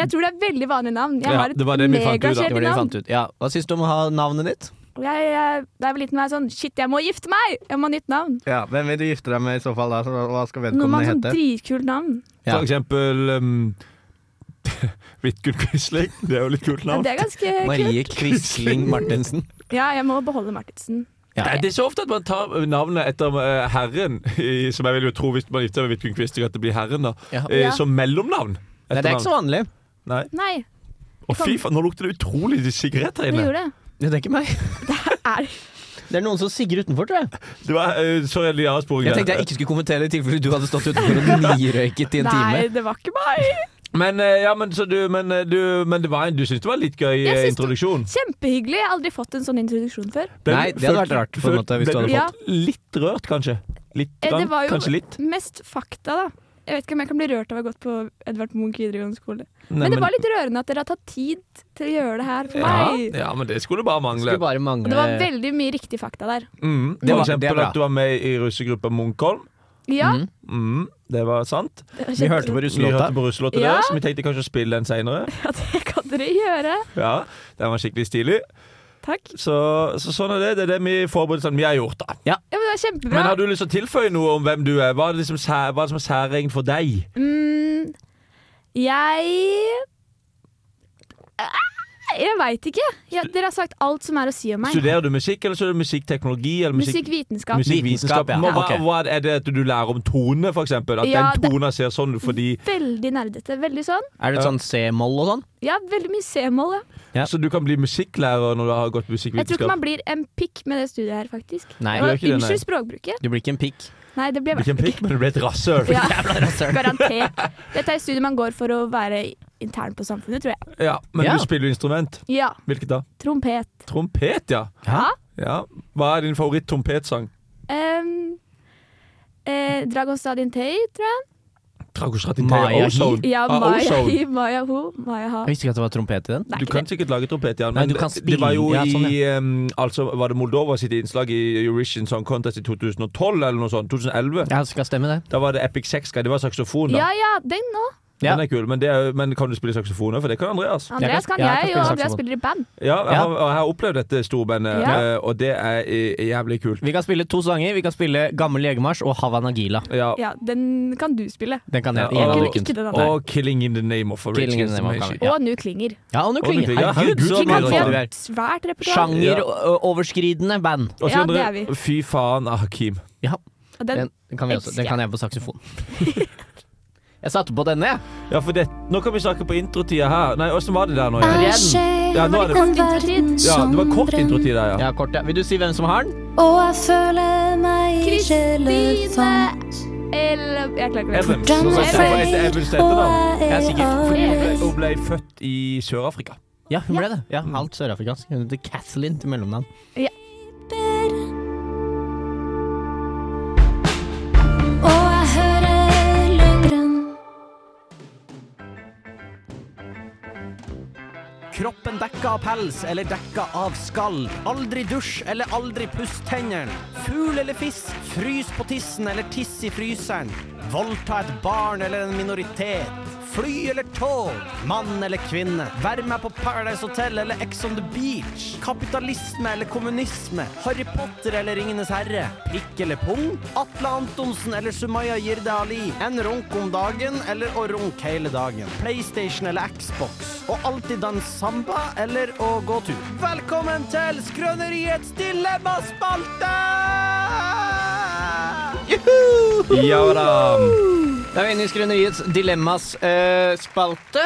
Jeg tror det er veldig vanlige navn. Jeg Ja, har et det var det vi fant ut, da. Det megakjedelig var det vi navn. fant ut. Ja. Hva syns du om å ha navnet ditt? Og jeg, jeg, da jeg var liten var jeg sånn Shit, jeg må gifte meg! Jeg må ha nytt navn. Ja, Hvem vil du gifte deg med i så fall? da? Så Hva skal Noe med vedkommende sånn hete? dritkult navn. Ja. For eksempel um, Vidkun Quisling. Det er jo litt kult Men navn. det er ganske kult. Marie Quisling Martinsen. Ja, jeg må beholde Martinsen. Ja. Nei, det er så ofte at man tar navnet etter eh, herren, i, som jeg vil jo tro hvis man gifter seg med Vidkun Quisling, at det blir herren, da. Ja. Eh, Ja. Som mellomnavn. Nei, det er ikke så vanlig. Nei. Nei, Og fy faen, nå lukter det utrolig sigarett her det inne. gjorde det. Ja, Det er ikke meg. Er, Det er noen som sigger utenfor, tror jeg. Det var, eh, sorry, jeg har sporet Jeg tenkte jeg ikke skulle kommentere det i tilfelle du hadde stått utenfor og nirøyket i en nei, time. det var ikke meg. Men, eh, ja, men, så du, men, eh, du, men det var en, du syntes det var en litt gøy Jeg eh, syns det- introduksjon? Kjempehyggelig. Jeg har aldri fått en sånn introduksjon før. Ble- Nei, det hadde følte- vært rart, på en følte- måte, hvis du ble- hadde fått- Litt rørt, kanskje? Litt Eh, grann, det var jo- Kanskje litt? Mest fakta, da. Jeg vet ikke om jeg kan bli rørt av å ha gått på Edvard Munch videregående skole. Nei, Men det var litt rørende at dere har tatt tid til å gjøre det her for ja, meg. ja, men det skulle bare mangle. Skulle bare Og mangle det var veldig mye riktige fakta der. Mm, Det var- for det er eksempel bra. at du var med i russegruppa Munkholm. Ja, Mm. Mm, det var sant. det var Vi hørte på Vi hørte russelåta. på russelåta Ja. deres, vi tenkte kanskje å spille den seinere. Ja, det kan dere gjøre. Ja, den var skikkelig stilig. Takk. Så, så sånn er det. Det er det vi forberedelsene vi har gjort, da. Ja, men det var kjempebra. Men har du lyst til å tilføye noe om hvem du er? Hva er det, liksom, sæ- hva er det som er særegent for deg? Mm, jeg Ah, Jeg veit ikke. Ja, dere har sagt alt som er å si om meg. Studerer du musikk, eller så er det musikkteknologi? Eller musikk Musikkvitenskap. Musikkvitenskap. Vitenskap, ja. Men Hva, Ja, ok. hva er det at du lærer om tone, for eksempel? At Ja, den det- tona ser sånn ut fordi Veldig nerdete. Veldig sånn. Er det sånn C-moll og sånn? Ja, veldig mye C-moll. Ja. Ja. Så du kan bli musikklærer når du har gått Jeg tror ikke musikkvitenskap? man blir en pikk med det studiet her, faktisk. Nei, Og du gjør ikke det, nei. unnskyld språkbruket. Du blir ikke en pikk. Nei, det ble Du blir ikke en pikk, men du blir et rasshøl. Ja, rasshøl. garantert. Dette er et studie man går for å være intern på samfunnet, tror jeg. Ja, men Ja. du spiller jo instrument. Ja. Hvilket da? Trompet. Trompet, ja. Ja. ja. Hva er din favoritt-trompetsang? Um, eh, Dragon Stadion Tay, tror jeg. Maya Tragostratintea Hi. Ozone. Ja, Ah, Maya Ozone. Hi, Maya Ho, Maya Ha. Jeg visste ikke at det var trompet i den. Det er Du ikke kan det. sikkert lage trompet, ja. Nei, Men du kan det var jo spille- ja, sånn, i em, Altså, var det Moldova sitt innslag i Eurovision Song Contest i 2012 eller noe sånt? 2011? Ja, skal stemme det. Da var det Epic Sex Guy. Det var saksofon, da. Ja ja, den nå. Ja. Den er kul. Men, det er, men kan du spille saksofon òg? For det kan Andreas. Andreas kan- kan ja, jeg kan jeg, spille og Andreas saksofon. spiller i band. Ja, jeg Ja. har, jeg har opplevd dette storbandet, Ja. eh, og det er eh, jævlig kult. Vi kan spille to sanger. Vi kan spille Gammel legemarsj og Havana Gila. Ja. Ja, den kan du spille. Den kan jeg. Ja, jeg og- kan Ikke- ikke den andre. Og 'Killing in the Name of a Rich Killing in the Name of Kids. Ja. Og nå klinger. Ja, og nå Og nå klinger klinger. Herregud, Herregud, så så Klinger mye vi bra du har er. et svært repertoar. Sjangeroverskridende band. Og så Ja, andre, det er vi. Fy faen av Hakim. Og Den, Den, den, kan, vi også, den kan jeg på saksofon. Jeg satte på denne, jeg. Ja, for det, nå kan vi snakke på introtida her. Nei, åssen var det der nå? igjen? Brenn. Ja, nå er det, kort introtid. ja, det var kort introtid der, ja. Ja, kort, ja. Vil du si hvem som har den? Og jeg føler meg Kristine Eller Jeg klarer ikke å Evans. Hvordan Nå skal er jeg få litt Evans til og etternavn. jeg Jeg er er sikker. Fordi hun ble, avvist. hun ble født i Sør-Afrika. Ja, hun ble det. Ja, Halvt sørafrikansk. Hun heter Kathleen til mellomnavn. Og jeg hører Lundgren. Kroppen dekka av pels eller dekka av skall. Aldri dusj eller aldri puss tennene. Fugl eller fisk, frys på tissen eller tiss i fryseren. Voldta et barn eller en minoritet. Fly eller tog, mann eller kvinne. Vær med på Paradise Hotel eller Ex on the Beach. Kapitalisme eller kommunisme. Harry Potter eller Ringenes herre. Pikk eller pung. Atle Antonsen eller Sumaya Jirde Ali. En runk om dagen eller å runke hele dagen. PlayStation eller Xbox. Og alltid danse samba eller å gå tur. Velkommen til Skrøneriets dilemmaspalte! Ja da. Da er vi inne i Skrøneriets Ehm, dilemmas-spalte.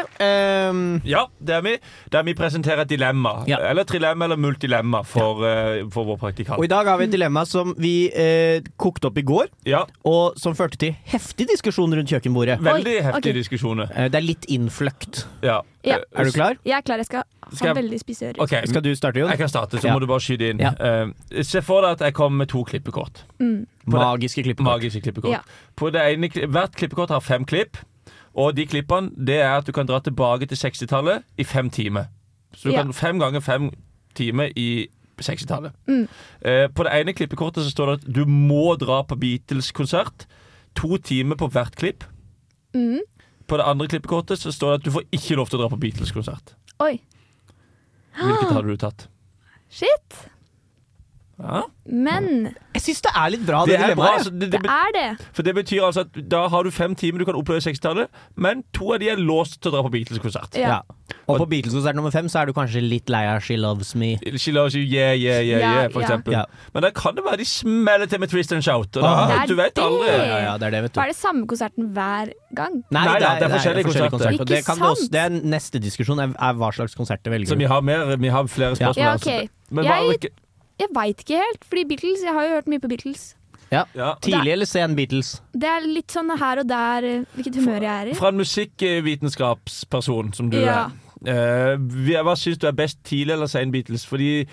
Ja, det er vi. Der vi presenterer et dilemma. Ja. Eller trilemma eller multilemma for, eh, for vår praktikant. og i dag har vi et dilemma som vi eh, kokte opp i går, Ja, og som førte til heftig diskusjon rundt kjøkkenbordet. Veldig Oi, heftige ok. diskusjoner. Eh, det er litt innfløkt. Ja. Ja. Eh, Er du klar? Jeg er klar, jeg skal ha Skal jeg- veldig spisse ører. OK, Skal du starte, Mm. Jon? jeg kan starte, så Ja. må du bare skyte inn. Ja. Eh, se for deg at jeg kommer med to klippekort. Magiske klippekort. Magiske klippekort. Ja. På det ene, kli- hvert klippekort har fem klipp, og de klippene det er at du kan dra tilbake til 60-tallet i fem timer. Så du Ja. kan fem ganger fem timer i 60-tallet. Mm. Eh, på det ene klippekortet så står det at du må dra på Beatles-konsert. To timer på hvert klipp. Mm. På det andre klippekortet så står det at du får ikke lov til å dra på Beatles-konsert. Oi, Ah. Hvilket hadde du tatt? shit! Men Jeg syns det er litt bra, det, er bra. Altså, det, det, det er det. for det betyr altså at da har du fem timer du kan oppleve 60-tallet, men to av de er låst til å dra på Beatles-konsert. Ja. Og på Beatles-konsert nummer fem så er du kanskje litt lei av She Loves Me. She loves you, yeah, yeah, yeah, Ja, yeah, for ja. eksempel. Ja. Men da kan det være de smeller til med Twist and Shout. Og da, Ah. Det er du vet det. aldri. Ja, ja, det er det, vet du. Og er det samme konserten hver gang? Nei, Nei, det, da, er, det er forskjellige konserter. og Det, Ikke kan vi også, sant? det er neste diskusjon er, er hva slags konserter velger Så vi du. har, mer, vi har flere spørsmål. Ja, her, så- ok. Men hva er Jeg- det ikke- Jeg veit ikke helt, fordi Beatles Jeg har jo hørt mye på Beatles. Ja. ja. Tidlig eller sen Beatles? Det er litt sånn her og der eh, hvilket humør jeg er i. Fra en musikkvitenskapsperson som du Ja. er, eh, vi- hva syns du er best tidlig eller sein Beatles? Fordi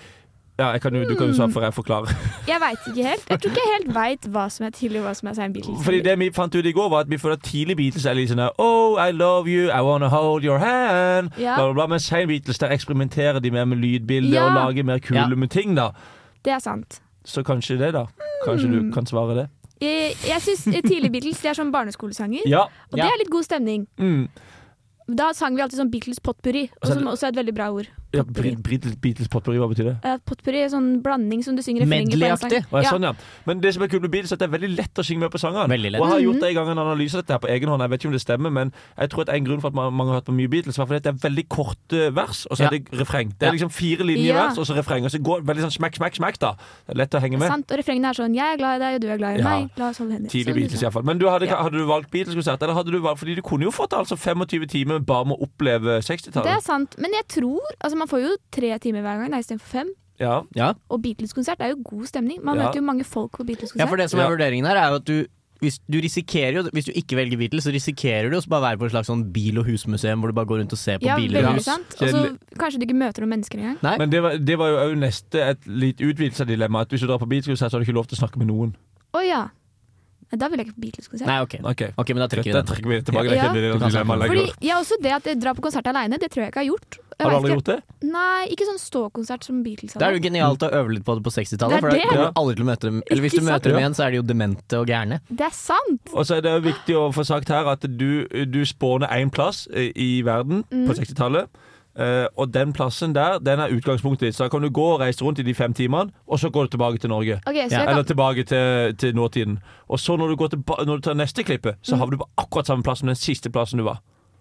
ja, jeg kan jo, Du kan Hmm. jo svare for jeg forklarer. Jeg veit ikke helt. Jeg tror ikke jeg helt veit hva som er tidlig og hva som er sein Beatles. Fordi det vi fant ut i går, var at vi føler at tidlig Beatles er litt sånn der, Oh, I love you, I wanna hold your hand. Ja. Bla, bla, bla. Men sein Beatles, der eksperimenterer de mer med lydbilder Ja. og lager mer kule Ja. med ting, da. Det er sant. Så kanskje det, da. Kanskje Mm. du kan svare det. Jeg, jeg syns tidlig Beatles det er sånn barneskolesanger, Ja. og Ja. det er litt god stemning. Mm. Da sang vi alltid sånn Beatles potpurri, og som også er et veldig bra ord. ja Brit- Brit- Beatles potpourri, hva betyr det? Eh, Potpurri er sånn blanding som du synger refrenget på. en sang. Medley-aktig. Å, ja. Ja. Sånn, ja. Men det som er kult med Beatles, er at det er veldig lett å synge med på sangene. Veldig lett. Og jeg har Mm. gjort en gang en analyse av dette her på egen hånd. Jeg vet ikke om det stemmer, men jeg tror at en grunn for at man- mange har hørt på mye Beatles, var fordi at det er veldig korte vers, og så Ja. er det refreng. Det Ja. er liksom fire linjer Ja. vers, og så refreng. Og så går det veldig sånn smekk, smekk, smekk, da. Det er lett å henge med. Sant, og refrengene er sånn 'Jeg er glad i deg, og du er glad i Ja. meg'. La oss holde hender. Tidlig Sånn, Beatles, liksom. iallfall. Men du hadde, Ja. hadde du valgt Beatles-konsert, eller hadde du valgt Fordi du kunne jo fått altså 25 timer bare med å oppleve Det er 60-tallet. sant. Men jeg tror Altså, man får jo tre timer hver gang da, istedenfor fem. Ja. Og Beatles-konsert er jo god stemning. Man Ja. møter jo mange folk Ja, på for Beatles-konsert. det som er Ja. vurderingen her, er jo at du hvis du risikerer jo, hvis du ikke velger Beatles, så risikerer du å bare være på et slags sånn bil- og husmuseum hvor du bare går rundt og ser på Ja, biler og veldig hus. sant. Og så kanskje du ikke møter noen mennesker engang. Nei. Men det var, det var jo òg neste et litt utvidelse av dilemmaet. At hvis du drar på Beatles-konsert, så har du ikke lov til å snakke med noen. Å ja. Nei, Da vil jeg ikke på Beatles-konsert. Nei, ok. Ok, Ok, men da trekker vi Dette den. trekker vi tilbake. Det er Ja. ikke det Du kan snakke dilemmaet om- lenger. Fordi, ja, også det at jeg drar på konsert alene, det tror jeg ikke jeg har gjort. Har Jeg du vet aldri ikke. gjort det? Nei, ikke sånn ståkonsert som Beatles Da er hadde. det jo genialt å øve litt på det på 60-tallet, Det er for da det. kommer du aldri til å møte dem Eller hvis Ikke du møter dem sant? igjen, så er de jo demente og gærne. Det er sant! Og så er det jo viktig å få sagt her at du, du spåner én plass eh, i verden Mm. på 60-tallet. eh, og den plassen der, den er utgangspunktet ditt. Så da kan du gå og reise rundt i de fem timene, og så går du tilbake til Norge. Ok, så jeg Eller kan, tilbake til, til nåtiden. Og så når du, går tilba- når du tar neste klippet, Mm. så havner du på akkurat samme plass som den siste plassen du var.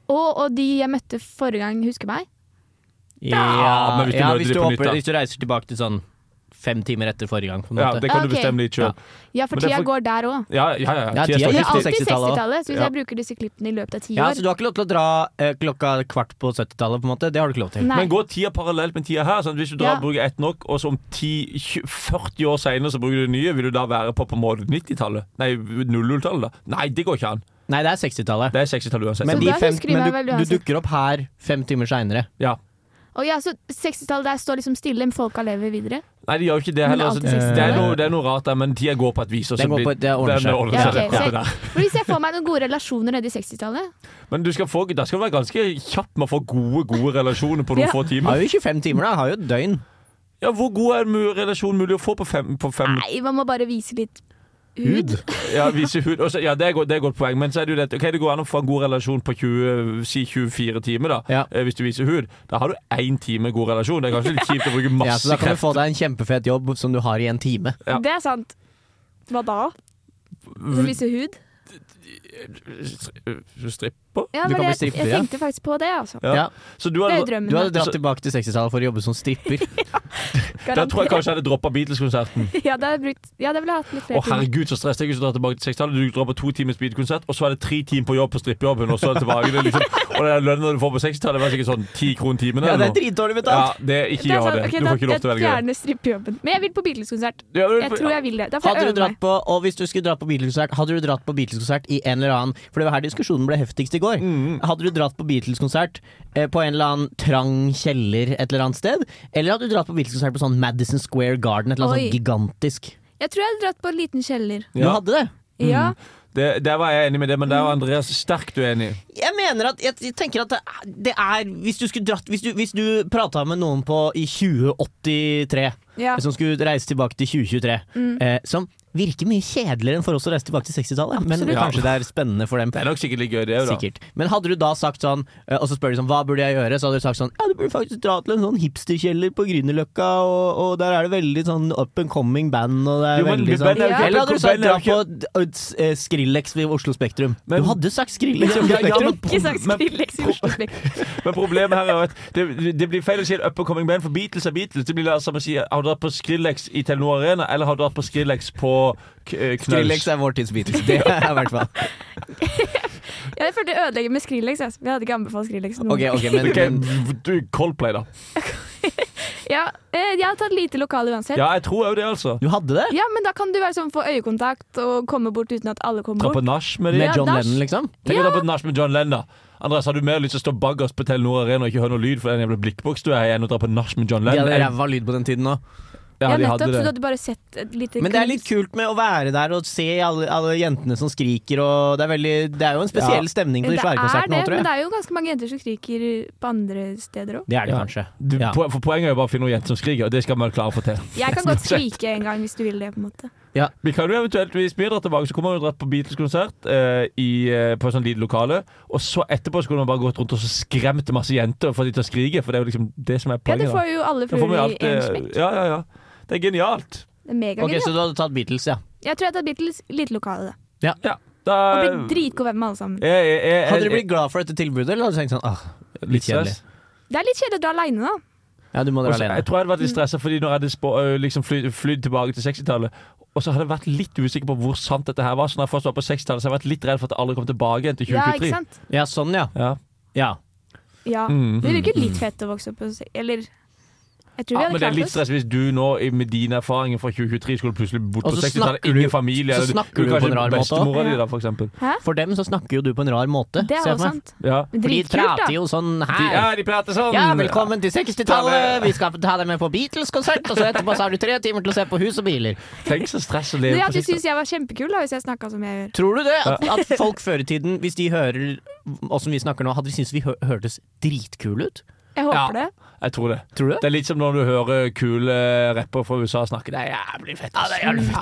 og, og de jeg møtte forrige gang, husker meg. Ja, men hvis du møter de på nytt, opplever- da. hvis du reiser tilbake til sånn fem timer etter forrige gang, på en Ja, måte. Det kan Ja, du ok. bestemme litt sjøl. Ja, for Men det er tida for- går der òg. Ja, ja, ja. Ja, tida de er står Det er jo riktig. alltid 60-tallet, 60-tallet, så hvis Ja. jeg bruker disse klippene i løpet av ti Ja, år så du har ikke lov til å dra eh, klokka kvart på 70-tallet, på en måte? Det har du ikke lov til. Nei. Men går tida parallelt med tida her? Sant? Hvis du drar Ja. og bruker ett nok, og så om 10, 20, 40 år seinere så bruker du det nye, vil du da være på på en måte 90-tallet? Nei, 00-tallet, da? Nei, det går ikke an. Nei, det er 60-tallet. Det er 60-tallet uansett. Men, Så de da fem, husker de men du, meg vel du uansett. dukker opp her fem timer seinere. ja. Å ja, så 60-tallet der står liksom stille, men folka lever videre. Nei, de gjør jo ikke det Men heller. alltid Altså, det, er 60-tallet. noe, det er noe rart der, men tida går på et vis. og så Den går blir- på- det ordner den seg. ordner Ja, seg, ok, det Mm. så der. jeg, for hvis jeg får meg noen gode relasjoner nede i 60-tallet Men du skal få, da skal du være ganske kjapp med å få gode gode relasjoner på noen Ja. få timer. Har jo 25 timer, da. Har jo et døgn. Ja, Hvor god er en mu- relasjon mulig å få på fem, på fem Nei, man må bare vise litt hud. Ja, vise hud. Også, ja, det er, godt, det er godt poeng, men så er det jo det at, ok, det går an å få en god relasjon på 20, si 24 timer, da. Ja. Eh, Hvis du viser hud. Da har du én time god relasjon. Det er kanskje litt kjipt å bruke Ja, masse så da kan du få krefter. deg en kjempefet jobb som du har i en time. Ja. Det er sant. Hva da? Så vise hud? Stripper? Ja, Du kan men bli jeg, stripper, jeg ja. tenkte faktisk på det, altså. Ja. Ja. Så du Det er hadde, jo drømmen. Du hadde dratt Så- tilbake til 60-tallet for å jobbe som stripper. da tror jeg Garantert. kanskje jeg hadde droppa Beatles-konserten. Ja, det hadde jeg brukt. Ja, det ville jeg hatt litt Å flere timer. herregud, så stress. Det er ikke så å dra tilbake til 60-tallet. Du drar på to timers Beatles-konsert, og så er det tre timer på jobb på strippejobben, og så er det tilbake. Det er liksom, og den lønna du får på 60-tallet, det var sikkert sånn ti kroner timen Ja, det eller er noe. dritdårlig Ja, betalt! det, ikke Det er gjør sant. det. Ok, Du får da- ikke lov til å Jeg velge det. gjerne strippejobben. Men jeg vil på Beatles-konsert. Ja, men- Jeg tror jeg vil det. Da får Hadde Altså, jeg du øve dratt meg. på, og hvis du skulle dratt på Beatles-konsert, hadde du dratt på Beatles-konsert i en eller annen For det var her diskusjonen ble heftigst i går. Hadde du dratt på Beatles-konsert eh, på en eller annen trang kjeller et eller annet sted? Eller hadde du dratt på Beatles-konsert på sånn Madison Square Garden, et eller annet Oi. sånn gigantisk? Jeg tror jeg hadde dratt på en liten kjeller. Du Ja. hadde det? Ja. Det, der var jeg enig med det, men der var Andreas sterkt uenig. Jeg mener at Jeg, jeg tenker at det er, det er Hvis du skulle dratt Hvis du, hvis du prata med noen på i 2083 ja. Mm. som skulle reise tilbake til 2023, eh, som virker mye kjedeligere enn for oss å reise tilbake til 60-tallet. Men Absolutt. kanskje det er spennende for dem. Det er nok sikkert litt gøy, det òg, da. Sikkert. Men hadde du da sagt sånn, eh, og så spør de sånn, hva burde jeg gjøre? Så hadde du sagt sånn, ja du burde faktisk dra til en sånn hipsterkjeller på Grünerløkka, og, og der er det veldig sånn up and coming band, og det er Jo, men veldig sånn band er jo ikke- Eller hadde du sagt band er dra jo på d- d- eh, Skrillex ved Oslo Spektrum? du hadde sagt Skrillex ved Oslo Ja, ja, Spektrum! men- Ikke sagt men- Skrillex i Oslo Spektrum. Men problemet her er jo at det, det blir feil å si et up and coming band, for Beatles er Beatles. Det blir det samme å si har du dratt på Skrillex i Telenor Arena, eller har du dratt på Skrillex på K- eh, Knaus? Skrillex er vår tids Beatles, det er i hvert fall. Jeg følte jeg ødelegger med Skrillex. Jeg. jeg hadde ikke anbefalt Skrillex noen Ok, ok, men- Ok, du, Coldplay, da. ja, eh, Jeg har tatt lite lokal uansett. Ja, jeg tror òg det, altså. Du hadde det? Ja, men da kan du være sånn få øyekontakt og komme bort uten at alle kommer Dra på bort. nach med de. Med Ja, John nach. Lennon, liksom? Tenk å Ja. dra på nach med John Lennon. da. Andreas, har du mer lyst til å stå baggers på Telenor Arena og ikke høre noe lyd for den jævla blikkboks du er i, enn å dra på nach med John De Lennon? hadde ræva lyd på den tiden nå. Ja, nettopp, så du hadde bare sett et lite Men det er glimt. litt kult med å være der og se alle, alle jentene som skriker, og det er, veldig, det er jo en spesiell stemning på de Det svære er konsertene det, nå, tror Men det jeg. er jo ganske mange jenter som skriker på andre steder òg. Det er det Ja. kanskje. Du, Ja. po- For Poenget er jo bare å finne noen jenter som skriker, og det skal man klare å få til. Jeg kan godt skrike en gang hvis du vil det, på en måte. Vi kan jo eventuelt, hvis vi drar tilbake, så kommer vi og dratt på Beatles-konsert eh, i, eh, på et sånt lite lokale. Og så etterpå skulle man bare gått rundt og så skremt masse jenter og fått de til å skrike. For det er jo liksom det som er Ja, du poenget. får jo alle Da får man jo fruer i alt, én eh, smekk. Ja, ja, ja. Det er genialt. Det er Ok, megagøy. Så du hadde tatt Beatles, ja. Jeg tror jeg tar Beatles litt lokale, da. ja. eh, Da, Og blir dritgod venn med alle sammen. jeg, jeg, jeg, Hadde du blitt glad for dette tilbudet, eller hadde du tenkt sånn ah, litt kjedelig? Det er litt kjedelig å dra aleine, da. Ja, du må Og dra så- alene. Jeg tror jeg hadde vært litt Mm. stressa Fordi når jeg hadde spå, ø, liksom fly, flydd tilbake til 60-tallet Og så hadde jeg vært litt usikker på hvor sant dette her var Så når jeg først var på 60-tallet Så har jeg vært litt redd for at jeg aldri kom tilbake igjen til Ja, ikke 2023 sant? Ja, sånn, ja. Ja. Ja. Ja. Mm. Det virker litt fett å vokse opp på se- Eller jeg tror vi Ja, hadde men det er klart litt oss. stress hvis du nå i- med dine erfaringer fra 2023 skulle plutselig bort Og på så 60-tallet. snakker Ingen du- familie. så eller snakker kunne du på kanskje en rar måte også. Bestemora di, Ja. da, for eksempel. Hæ? For dem så snakker jo du på en rar måte. Det ser er jeg jo for meg. sant. Ja. Men For de Dritkult, da. prater jo sånn De, ja, her. de prater sånn. Ja, velkommen til 60-tallet! Vi skal ta deg med på Beatles-konsert, og så etterpå så har du tre timer til å se på Hus og biler. Tenk så stress å Men leve på jeg hadde jo 60-tallet. syntes jeg var kjempekul da, hvis jeg snakka som jeg gjør. Tror du det? At, at folk før i tiden, hvis de hører åssen vi snakker nå, hadde de syntes vi hø hørtes dritkule ut? Jeg håper det. Jeg tror det. Tror du det? Det er litt som når du hører kule rappere fra USA snakke. Det er jævlig fett. ass.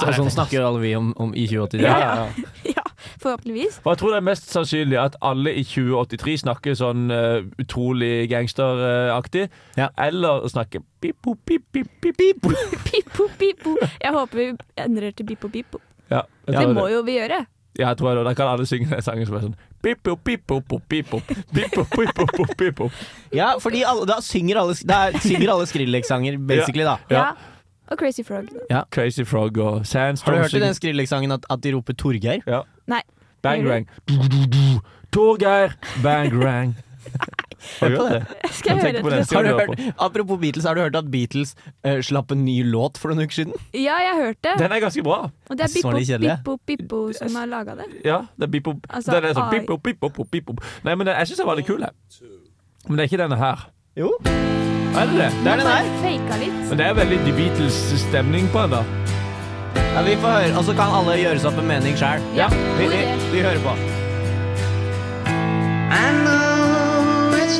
Og sånn snakker jo alle vi om, om i 2080. Ja, ja, ja. Ja, forhåpentligvis. Og jeg tror det er mest sannsynlig at alle i 2083 snakker sånn eh, utrolig gangsteraktig. Ja. Eller snakker pip-pop, pip-pip, pip-pip. Pipo, pipo. Jeg håper vi endrer til bipo, bipo. Ja, jeg Det tror må jo vi gjøre. Ja, jeg tror jeg det. Der kan alle synge den sangen som er sånn Pippo, pippo, pop, pippo, pippo, pippo, pop, pippo. Ja, fordi alle, da synger alle, da synger alle Skrillex-sanger, basically, da. Ja. Ja. Og Crazy Frog. da. Crazy Frog og Har Sandstorm du hørt i synger- den Skrillex-sangen at, at de roper Torgeir? Ja. Nei. Bang Hører rang. Du, du, du. Torgeir, bang rang. Har du hørt det? Skal Jeg jeg tenker på høre den etter? Har siden du du hører hørt, på. apropos Beatles, har du hørt at Beatles eh, slapp en ny låt for noen uker siden? Ja, jeg hørte. Den er ganske bra. Og det er Så var det Bippo, kjedelig. Bippo, Bippo som har laga det. Ja, det er bippo. Altså, den er sånn ai. bippo, bippo, pop, bippo. Nei, men den, jeg syns den var litt kul, jeg. Men det er ikke denne her. Jo, det Er det det? er den her. Faka litt. Men det er veldig The Beatles-stemning på den, da. Ja, vi får høre, og så kan alle gjøre seg opp en mening sjæl. Ja, Vi, god vi, idé. vi hører på. I know it's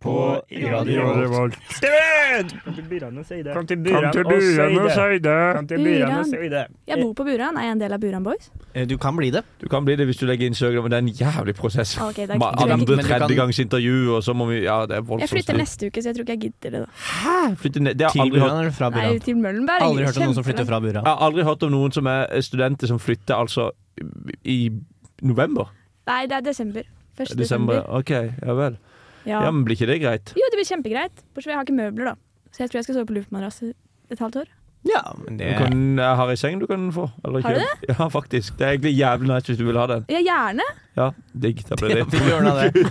på Radio Revolt. Kom til Buran og si det. Kom til Buran og Buran. si det. Jeg bor på Buran. Er jeg en del av Buran Boys? Eh, Du kan bli det. Du kan bli det hvis du legger inn søknad, men det er en jævlig prosess. Ah, Ok, det er ikke- Ma- det er ikke- Andre men du kan- tredje gangs intervju, og så må vi Ja, det er Jeg voldsomt. flytter styr. neste uke, så jeg tror ikke jeg gidder det. da Flytter ned. Det har jeg Til aldri hørt. Buran eller fra Nei, Buran? til Møllenberg. Aldri hørt om noen som flytter Kjempelangt. fra Buran. Jeg har aldri hørt om noen som er eh, studenter som flytter altså i november? Nei, det er desember. Første Desember? desember. OK, ja vel. Ja. Ja, men blir ikke det greit? Jo, det blir kjempegreit. Bortsett fra jeg har ikke møbler, da. Så jeg tror jeg skal sove på luftmadrass i et halvt år. Ja, men Du kan, jeg har ei seng du kan få. Eller Har du det? Ja, faktisk. Det er egentlig jævlig nice hvis du vil ha den. Ja, gjerne. Ja, digg. Da ble det Bjørn av det. Det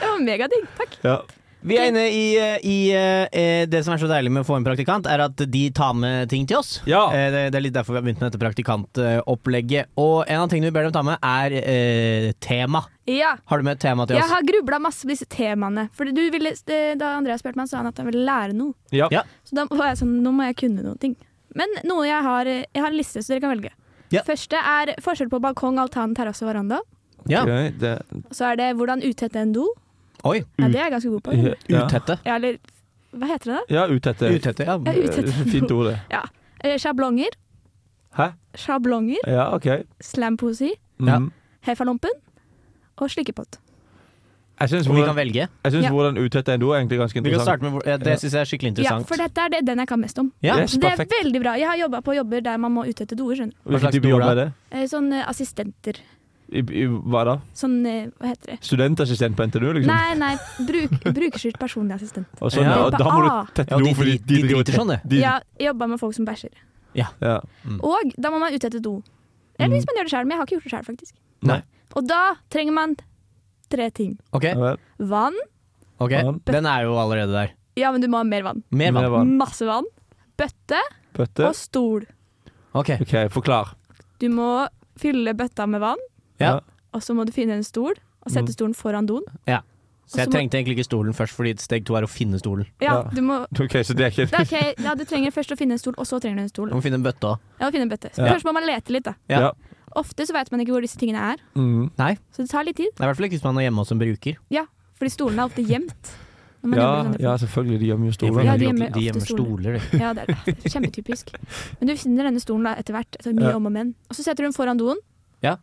var megadigg. Takk. ja. Vi er inne i, eh, i eh, eh, Det som er så deilig med å få en praktikant, er at de tar med ting til oss. Eh, Det, det er litt derfor vi har begynt med dette praktikantopplegget. Og en av tingene vi ber dem ta med, er eh, tema. Ja. Har du med et tema til Jeg oss? har grubla masse på disse temaene. For du ville, da Andreas spurte meg, sa han at han ville lære noe. Ja. Så da var jeg sånn, nå må jeg kunne noen ting. Men noe jeg har, jeg har en liste, så dere kan velge. Ja. Første er forskjell på balkong, altan, terrasse og veranda. Ok, det, Så er det hvordan uttette en do. Oi. Ja, det er jeg ganske god på. egentlig. Ja. Ja, eller hva heter det da? Ja, utette. Utette, ja. Ja, utette. Fint ord, det. Ja. Eh, Sjablonger. Hæ? Sjablonger. Ja, OK. Mm. Slampoesi. Ja. Hefalompen. Og slikkepott. Jeg synes Og vi hvordan- kan velge. Jeg syns Ja. hvordan utette en do er egentlig ganske Vi kan interessant. starte med hvor- ja, det synes jeg er skikkelig Ja, for dette er det, den jeg kan mest om. Ja. Yes, Så det er perfekt. veldig bra. Jeg har jobba på jobber der man må uttette doer, skjønner du. Hvilken type jobb er det? Eh, Sånn eh, assistenter. I, i, hva da? Sånn, eh, hva heter det? Studentassistent på NTNU, liksom? Nei, nei, bruk, brukerstyrt personlig assistent. Og sånn, ja, og da må du Ah. tette do, fordi de driver og tett- de- Ja, jeg jobba med folk som bæsjer. Ja. Mm. Og da må man uttette do. Eller hvis man gjør det sjøl, men jeg har ikke gjort det sjøl, faktisk. Nei. Og da trenger man tre ting. Ok. Vann. Ok, Den er jo allerede der. Ja, men du må ha mer vann. Mer vann. Mer vann. Masse vann. Bøtte. Bøtte. Mm. Og stol. Ok. OK, forklar. Du må fylle bøtta med vann, Ja. og så må du finne en stol og sette Mm. stolen foran doen. ja. Så jeg Og så må- trengte egentlig ikke stolen først, fordi steg to er å finne stolen. Ja, du må OK, så det er det er ok. ja, Du trenger først å finne en stol, og så trenger du en stol. Du må finne en bøtte òg. Ja, og finne en bøtte. Så Mm. Ja. Først må man lete litt, da. Ja. Ofte så vet man ikke hvor disse tingene er, Mm. Nei. så det tar litt tid. Det er i hvert fall ikke hvis man er hjemme hos en bruker. Ja, fordi stolene er ofte gjemt. når man jobber i Ja, sånne ja, selvfølgelig. De gjemmer jo stoler. sånn Ja, de gjemmer ofte stoler, fag. ja, det er det. Kjempetypisk. Men du finner denne stolen da etter hvert, etter mye Ja. om og men. Og så setter du den foran doen, Ja.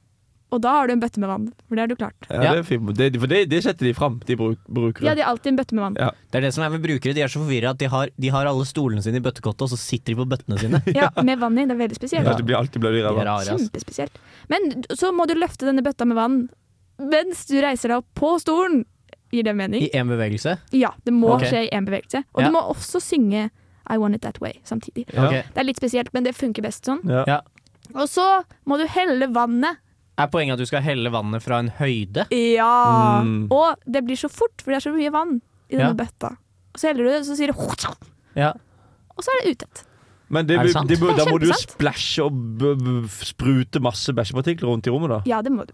og da har du en bøtte med vann. For det har du klart. Ja, det er fint. Det, for det, det setter de fram, de bruk, brukere. Ja, de har alltid en bøtte med vann. Ja. Det er det som er med brukere. De er så forvirra at de har, de har alle stolene sine i bøttekottet, og så sitter de på bøttene sine. Ja, med vann i. Det er veldig spesielt. Ja, det blir alltid blir De er rare, altså. ass. Kjempespesielt. Men d- så må du løfte denne bøtta med vann mens du reiser deg opp på stolen. Gir det mening? I én bevegelse. Ja, det må Ok. skje i én bevegelse. Og Ja. du må også synge I Want It That Way samtidig. Ja. Ok. Det er litt spesielt, men det funker best sånn. Ja. Og så må du helle vannet. Er poenget at du skal helle vannet fra en høyde? Ja. Mm. Og det blir så fort, for det er så mye vann i denne Ja. bøtta. Og så heller du det, så sier det Og Ja. så er det utett. Men det, Er det sant? det, bør- Det er da må du jo kjempesant. splæsje og b b sprute masse bæsjepartikler rundt i rommet, da. Ja, det må du.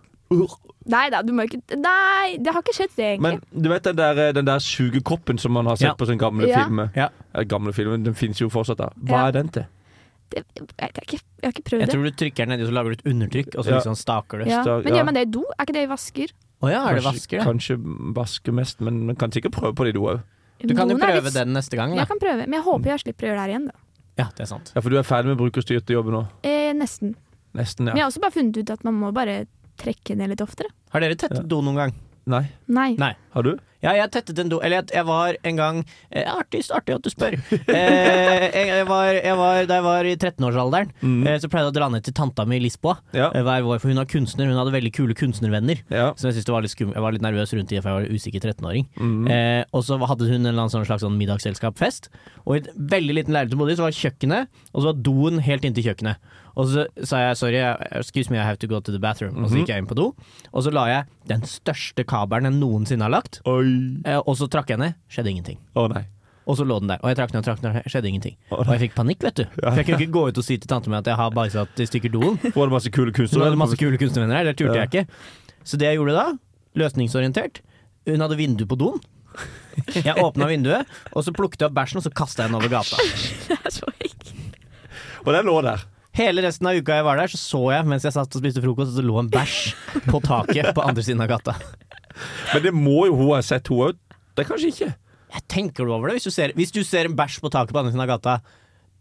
Nei da, du må ikke Nei, det har ikke skjedd, det, egentlig. Uh. Men du vet den der, eh, den der sugekoppen som man har sett Ja. på sånne gamle Ja. filmer? Eh, Gamle filmer, Den fins jo fortsatt, da. Hva Ja. er den til? Det vet jeg ikke. Jeg har ikke prøvd Jeg det. tror du trykker den nedi, og så lager du et undertrykk, og så Ja. liksom staker du. Ja. Men gjør man det i do? Er ikke det i vasker? Å ja, er det Kanskje- vasker, det? Kanskje vaske mest, men man kan sikkert prøve på det i do òg. Du kan jo Noen er prøve litt- den neste gang, da. Jeg kan prøve, men jeg håper jeg slipper å gjøre det her igjen. Da. Ja, det er sant. Ja, for du er ferdig med brukerstyrte jobber nå? Eh, nesten. Nesten, Men jeg ja. har også bare funnet ut at man må bare trekke ned litt oftere. Har dere tettet do noen gang? Nei. Nei. Nei. Har du? Ja, jeg tettet en do Eller jeg, jeg var en gang eh, Artig, artig at du spør. Eh, jeg, jeg var, jeg var, da jeg var i 13-årsalderen, eh, så pleide jeg å dra ned til tanta mi i Lisboa eh, hver vår. For hun var kunstner, hun hadde veldig kule kunstnervenner. Så jeg synes det var litt skum, jeg var litt nervøs rundt det, for jeg var en usikker 13-åring. Mhm. Eh, og så hadde hun en eller annen sånn slags sånn middagsselskapfest. Og i et veldig liten leilighet hun bodde i, så var kjøkkenet, og så var doen helt inntil kjøkkenet. Og så sa jeg sorry, excuse me, I have to go to the bathroom. Og så Mhm. gikk jeg inn på do, og så la jeg den største kabelen jeg noensinne har lagt. Eh, og så trakk jeg ned, skjedde ingenting. Å nei. Og så lå den der, og jeg trakk ned og trakk ned, skjedde ingenting. Og jeg fikk panikk, vet du. For jeg kunne ikke gå ut og si til tante mi at jeg har bæsja i stykker doen. Var det masse kule Så var kunstnere? det masse kule kunstnervenner her, det turte Ja. jeg ikke. Så det jeg gjorde da, løsningsorientert Hun hadde vindu på doen. Jeg åpna vinduet, og så plukket jeg opp bæsjen og så kasta jeg den over gata. Og den lå der. Hele resten av uka jeg var der, så så jeg mens jeg satt og spiste frokost, og så lå en bæsj på taket på andre siden av gata. Men det må jo hun ha sett, hun òg. Det er kanskje ikke. Jeg tenker du over det hvis du ser, hvis du ser en bæsj på taket på andre siden av gata?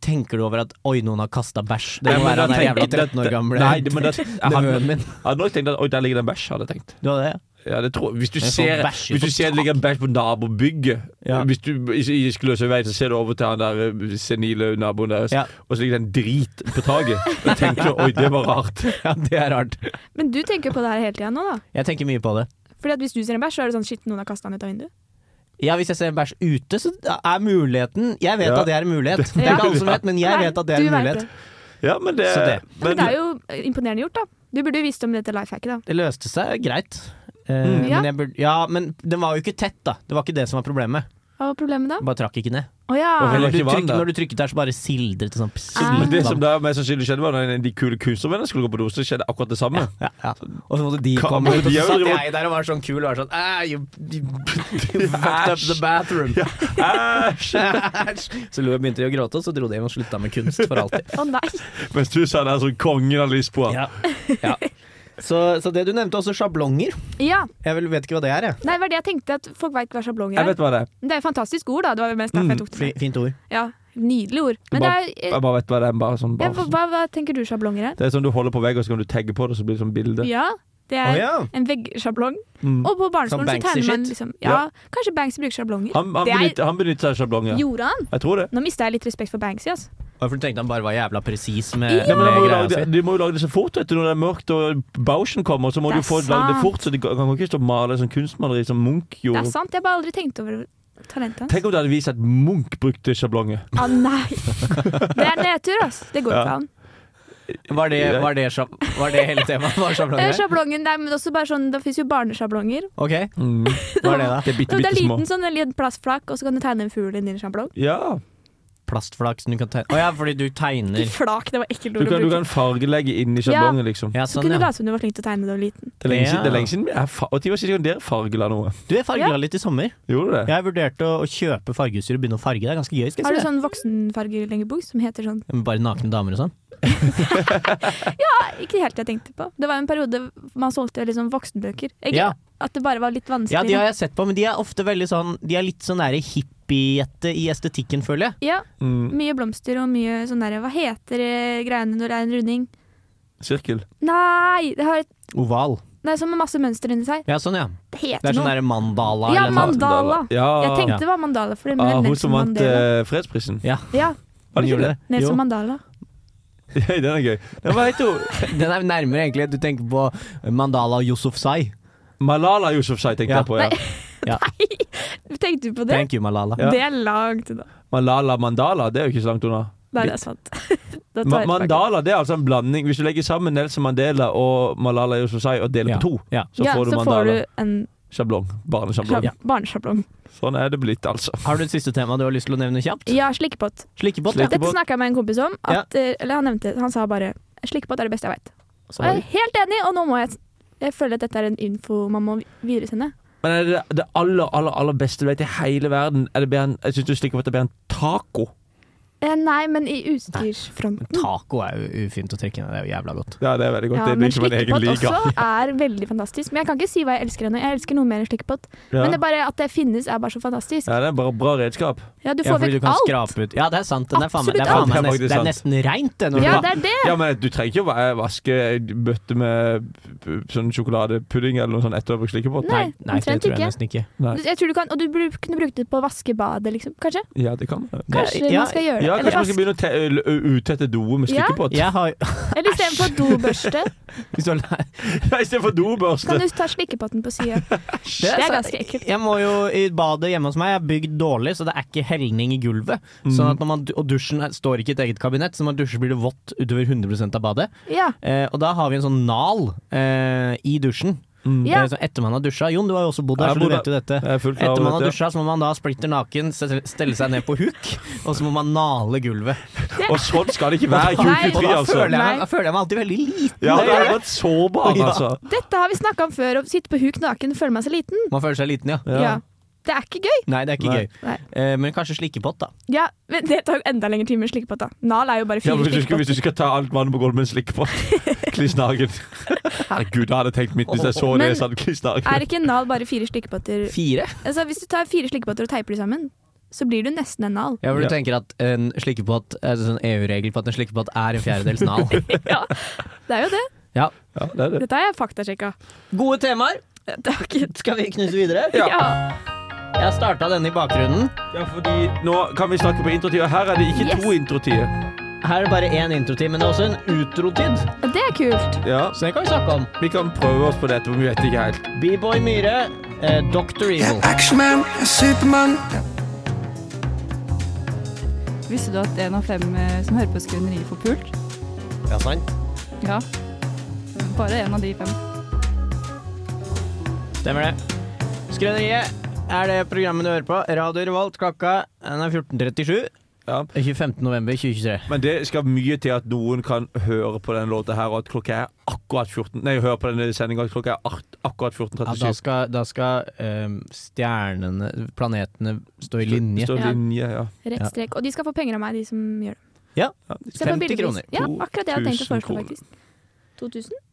Tenker du over at 'oi, noen har kasta bæsj'? Det Nei, må men være han da der jævla 13 tenker- år det- gamle Nei, det- men det- jeg hadde, nevøen min. hadde nok tenkt at Oi, der ligger det en bæsj, hadde jeg tenkt. Du hadde det? ja? Ja, det tror jeg. Hvis du Men så ser, bæsjer hvis du på ser det ligger en bæsj på nabobygget Hvis du i, i Skløsøyveien, så ser du over til han der eh, senile naboen deres, og så ligger det en drit på taket. Da tenker du oi, det var rart. Ja, det er rart. Men du tenker jo på det her hele tida nå, da. Jeg tenker mye på det. Fordi at hvis du ser en bæsj, så er det sånn shit, noen har kasta den ut av vinduet. Ja, hvis jeg ser en bæsj ute, så er muligheten Jeg vet Ja. at det er en mulighet. Det er Ja. ikke alle som vet, men jeg Nei, vet at det er du en vet mulighet. det. Ja, men det, Så det. Ja, Men det er jo eh, imponerende gjort, da. Du burde jo visst om dette life hacket, da. Det løste seg greit. Eh, Mm. Ja. men jeg burde, ja, men den var jo ikke tett, da. Det var ikke det som var problemet. Hva var problemet da? Bare trakk ikke ned. Å ja. Når Hvorfor du, ikke vann, trykk, da? når du trykket der, så bare sildret det sånn. pss, Ah. Men litt Det vann. som da mest sannsynlig skjedde, var at de kule kunstnervennene skulle gå på do, så skjedde akkurat det samme. Ja, ja. Og så måtte de Hva- komme ut, og så de er jo satt driver- jeg der og var sånn kul og var sånn "Ah, you, you, you fucked up the bathroom. Æsj. så lo jeg begynte de å gråte, og så dro de hjem og slutta med kunst for alltid. Å Sånn, nei. Mens du sa det er som kongen av Lisboa. Ja. Ja. Så, så det du nevnte også, sjablonger. Ja. Jeg vel, vet ikke hva det er, jeg. Nei, det var det jeg tenkte, at folk veit hva sjablonger er. Jeg vet hva det er. Det er et fantastisk ord, da. Det var jo mest derfor jeg tok det. Fi- Mm, Fint ord. Ja, Nydelig ord. Men det Bare, er eh, jeg bare vet hva det er. Bare sånn, ja, bare, hva, sånn. hva, hva tenker du sjablonger er? Det er sånn du holder på veggen, og så kan du tagge på det, og så blir det sånn bilde. Ja, det er Å, ja. en veggsjablong. Mm. Og på Sånn barneskolen så tegner man Banksy-shit? liksom Ja, kanskje Banksy bruker sjablonger. Han, han, det er, benytter, han benytter seg av sjablonger. Gjorde han? Jeg tror det. Nå mista jeg litt respekt for Banksy, altså. Hvorfor tenkte han bare var jævla presis Nei, med, men da med må du, greia lage, si? det- du må jo lage det så fort vet du, når det er mørkt og bausjen kommer. Så må Det du er få lagd det sant. fort, så det kan kan ikke stå og male sånn kunstmaleri som Munch Det gjorde. er sant. Jeg har bare aldri tenkt over talentet hans. Tenk om det hadde vist at Munch brukte sjablonger. Å Ah, nei! Det er nedtur, altså. Det går Ja. ikke an. Var det, var, det, sjab- var det hele temaet? Var Eh, sjablonger? Sjablongen, nei, men også bare sånn, Det fins jo barnesjablonger. Ok, hva er det da? Det er bitte, det bitte er små. liten sånn en liten plastflak, og så kan du tegne en fugl inni en sjablong. Ja. Plastflak som du kan tegne Å ja, fordi du tegner Flak, det var ekkelt Du ord å kan, du bruke. kan fargelegge inni sjablonger, liksom. Ja, Så kunne du late som du var flink til å tegne da du var liten. Det er lenge siden, Ja. det er lenge siden jeg fa- og ti år siden dere fargela noe. Du, jeg fargela Ja. litt i sommer. Gjorde du det? Jeg vurderte å, å kjøpe fargeutstyr og begynne å farge. Det er ganske gøy. skal Har du jeg si sånn voksenfargelengebok som heter sånn? det. Bare nakne damer og sånn. Nei, Ikke helt det jeg tenkte på. Det var en periode man solgte liksom voksenbøker. Ikke Ja. At det bare var litt vanskelig. Ja, de har jeg sett på, men de er ofte veldig sånn De er litt sånn nære hippiejette i estetikken, føler jeg. Ja, Mm. Mye blomster og mye sånn derre Hva heter eh, greiene når det er en runding? Sirkel. Nei! Det har et Oval. Nei, sånn med masse mønster inni seg. Ja, sånn, ja. Det Det heter er sånn noe. derre mandala Ja, eller noe sånt. mandala. Ja. Jeg tenkte det var mandala. For det men Ah, hun Nelson som vant Mandela. eh, fredsprisen. Ja. Ja, Han gjorde det. Nelson Jo. Mandala. Den er gøy. Den var helt jo Den er nærmere, egentlig. Du tenker på mandala og Yusufzai. Malala Yousafzai tenkte Ja. jeg på, ja. Ja. Tenkte du på det? Thank you, Malala. Ja. Det er langt unna. Malala Mandala, det er jo ikke så langt unna. Nei, det er sant. Da tar Ma jeg tilbake. mandala det er altså en blanding. Hvis du legger sammen Nelson Mandela og Malala Yousafzai og deler Ja. på to, Ja. så ja, får du så får mandala. du en Sjablong. Barnesjablong. sjab barnesjablong. Sånn er det blitt, altså. Har du et siste tema du har lyst til å nevne kjapt? Ja, slikkepott. Slikkepott. ja. Dette snakka jeg med en kompis om. At, eh, Eller han nevnte Han sa bare 'slikkepott er det beste jeg veit'. Og jeg er helt enig, og nå må jeg Jeg føler at dette er en info man må videresende. Men er det det aller, aller, aller beste du vet i hele verden? Er det bedre enn, jeg syns du slikker på at det er bedre enn taco. Eh, nei, men i utstyrsfronten. Taco er jo ufint å trekke ned, det er jo jævla godt. Ja, det er veldig godt. Ja, det men blir som en egen slikkepott liga. også er veldig fantastisk. Men jeg kan ikke si hva jeg elsker ennå. Jeg elsker noe mer enn slikkepott. Ja. Men det er bare at det finnes, er bare så fantastisk. Ja, det er bare bra redskap. Ja, du Ja, får fordi du vekk kan alt. skrape ut Ja, det er sant. Den er faen meg- det er, Absolutt faen meg alt. nest, det er nesten reint, det. Når Ja, du, det er det! Ja, men Du trenger ikke å va- vaske bøtte med p- sånn sjokoladepudding eller noe sånt etter å ha brukt slikkepott. Nei, Nei, det omtrent tror jeg ikke. nesten ikke. Nei. Du- Jeg tror du kan, og du bru- kunne brukt det på vaskebadet, liksom. Kanskje? Ja, det kan man. Kanskje ja, man skal gjøre det. Ja, Eller kanskje man skal vask- begynne å te ø- ø- uttette doer med Ja. slikkepott? Jeg har eller istedenfor dobørste, Hvis du har lært Ja, Istedenfor kan dobørste. du ta slikkepotten på sida. Det Det er så- ganske ekkelt. Jeg må jo i badet hjemme hos meg Jeg er bygd dårlig, så det er ikke helning i gulvet. Sånn at når man, og dusjen er- står ikke i et eget kabinett, så når man dusjer blir det vått utover 100 av badet. Ja. Eh, og da har vi en sånn nal eh, i dusjen. Mm, Ja. Eh, så etter man har dusja Jon, du har jo også bodd Jeg der, så du bodde- vet jo dette. Jeg er fullt klar Etter man over har dette. dusja, så må man da splitter naken, se- stelle seg ned på huk, og så må man nale gulvet. Og sånn skal det ikke være i Nei. Og 2023, da altså. føler jeg, meg- Nei. da føler jeg meg alltid veldig liten. Ja, det er vært sårbar, Ja. altså. Dette har vi snakka om før, å sitte på huk naken føler meg så liten. Man føler seg liten, ja. Ja. Det er ikke gøy. Nei, det er ikke Nei. gøy. Nei. Eh, men kanskje slikkepott, da. Ja, men det tar jo enda lengre tid med slikkepott, da. Nal er jo bare Ja, fire men hvis, du skal, hvis du slikkepotter. skal ta alt vannet på gulvet med en slikkepott, kliss naken. Herregud, jeg hadde tenkt mitt hvis jeg så det. Men- Sånn, kliss Er naken. ikke en nal bare fire slikkepotter? Fire? Altså, hvis du tar fire slikkepotter og teiper de sammen, så blir du nesten en nal. Ja, for du Ja. tenker at en slikkepott er det sånn EU-regel på at en slikkepott er en fjerdedels nal. Ja, det er jo det. Ja. Ja, det er det. Dette har jeg faktasjekka. Gode temaer. Det var ikke Skal vi knuse videre? Ja. Ja. Jeg starta denne i bakgrunnen. Ja, fordi nå kan vi snakke på introtid, og her er det ikke Yes. to introtider. Her er det bare én introtid, men det er også en utrotid. Det er kult. Ja, Så det kan vi snakke om. vi kan prøve oss på dette, men vi vet ikke helt. B-boy Myhre, eh, Dr. Evil. Action Man, Superman. Visste du at en av fem eh, som hører på Skrøneriet, får pult? Ja, sant? Ja. Bare en av de fem. Stemmer det. Skrøneriet er det programmet du hører på. Radio Revolt, klokka den er 14.37. 25. november 2023. Men det skal mye til at noen kan høre på den låta her, og at klokka er akkurat 14 Nei, høre på denne sendinga at klokka er ak- akkurat Ja, da 14.37. skal, da skal ehm, stjernene, planetene, stå i linje. Står Ja. linje, ja. Rett strek. Og de skal få penger av meg, de som gjør det. Ja. Se på bildevis. Ja, akkurat det jeg hadde tenkt å foreslå, faktisk. 2000?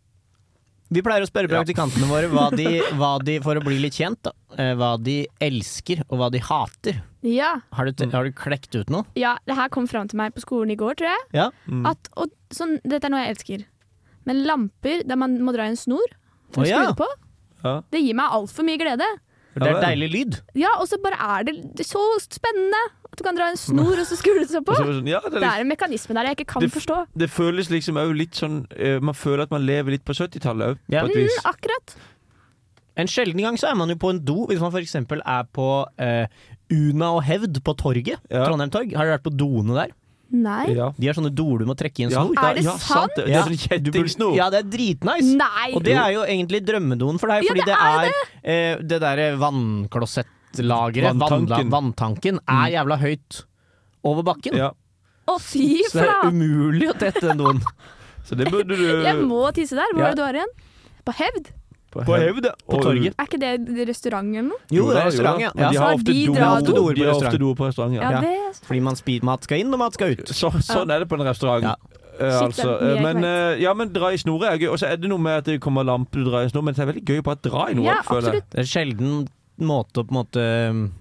Vi pleier å spørre praktikantene våre hva de, hva de, for å bli litt kjent, da, eh, hva de elsker og hva de hater. Ja. Har du, te- har du klekt ut noe? ja. Det her kom fram til meg på skolen i går, tror jeg. Ja. At, og, sånn, dette er noe jeg elsker. Men lamper der man må dra i en snor for Å, å ja. skru det på, Ja. det gir meg altfor mye glede. For det er deilig lyd. Ja, og så bare er det, det er så spennende at du kan dra i en snor, og så skrur det seg på. Og så er det sånn, ja, det er det, er litt- en mekanisme der jeg ikke kan Det f- forstå. Det føles liksom òg litt sånn eh, Man føler at man lever litt på 70-tallet òg, på et Mm, vis. akkurat. En sjelden gang så er man jo på en do, hvis man f.eks. er på eh, Una og Hevd på torget. Trondheim torg. Har dere vært på doene der? Nei. De har sånne doer du må trekke i en Ja. snor. Er det Ja, sant? sant det. Det er Ja. sånn Du burde- kjettingsnor. Ja, det er dritnice. Nei. Og det er jo egentlig drømmedoen for deg, Ja, fordi det det er er eh, det derre vannklosettlageret, Vanntanken. vannla- vanntanken, Mm. er jævla høyt over bakken. Ja. Å, fy Så det er flate! umulig å tette den doen. Så det burde du Jeg må tisse der. Hvor Ja. er det du har igjen? På Hevd? På Hevd, ja. På torget. Er ikke det restaurant eller noe? Jo, det er da, restaurant, da. ja. Men Ja, De så har har ofte de doer dra- ofte doer De på har ofte restaurant. doer på restaurant, Ja, ja. det Fordi man spi- mat skal inn, og mat skal ut. Så, sånn er det på en restaurant. Eh, Shit, altså, det er mye eh, men, jeg eh, ja, men dra i snoret er gøy. Og så er det noe med at det kommer lamper du drar i snor, men det er veldig gøy på å dra i noe. Ja, føler jeg. absolutt. Det er sjelden måte å på en måte um,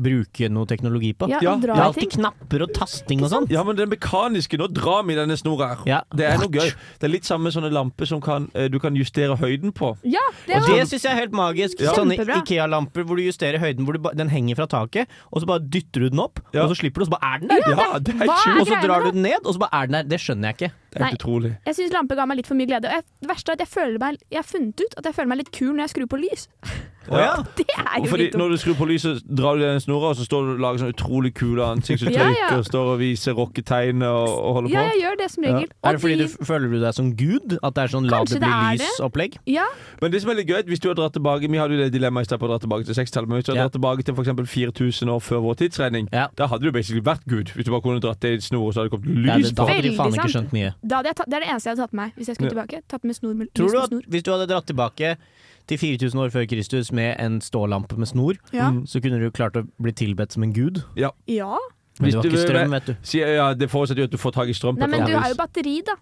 bruke noe teknologi på. Ja, Ja, og Det dra er i ting. alltid knapper og tasting og sånn. Ja, men det mekaniske Nå drar vi denne snora her. Ja. Det er noe gøy. Det er litt samme sånne lamper som kan, eh, du kan justere høyden på. Ja, det Og var det syns jeg er helt magisk. Ja. Sånne Kjempebra. Ikea-lamper hvor du justerer høyden, hvor du ba, den henger fra taket, og så bare dytter du den opp, Ja. og så slipper du, og så bare er den der. Ja, det er hva sjukt. er Og så greiene drar da? du den ned, og så bare er den der. Det skjønner jeg ikke. Det er helt Nei. utrolig. Jeg syns lampe ga meg litt for mye glede. Og jeg, det verste er at jeg føler meg Jeg har funnet ut at jeg føler meg litt kul når jeg skrur på lys. Å ja. Det er Og jo fordi litt Når dumt. du skrur på lyset, drar du den snora, og så står du og lager sånn utrolig kule ansiktsuttrykk Ja, ja. og står og viser rocketegn og, og holder Ja, på. jeg gjør det som regel. Er det Og fordi du de- f- føler du deg som gud? At det er sånn la Kanskje det det bli er det? lys-opplegg? ja, Men det som er litt gøy, hvis du har dratt tilbake Vi hadde jo det dilemmaet i sted på å dra tilbake til 60-tallet, men hvis du hadde Ja. dratt tilbake til for eksempel 4000 år før vår tidsregning, Ja. da hadde du basically vært Gud. Hvis du bare kunne dratt det i snoret, så hadde det kommet Ja, lys det, da på. hadde de Veldig faen ikke sant. skjønt mye. da hadde jeg tatt, det er det eneste jeg hadde tatt med meg hvis jeg skulle Ja. tilbake. Tatt med snor, med, Tror lys du med at snor. hvis du hadde dratt tilbake til 4000 år før Kristus med en stålampe med snor, Ja. så kunne du klart å bli tilbedt som en gud? ja. Men Hvis det var du ikke vil- strøm, vet du. Sier, ja, det forutsetter jo at du får tak i strøm. på Nei, et men eller du annet har jo vis. batteri, da.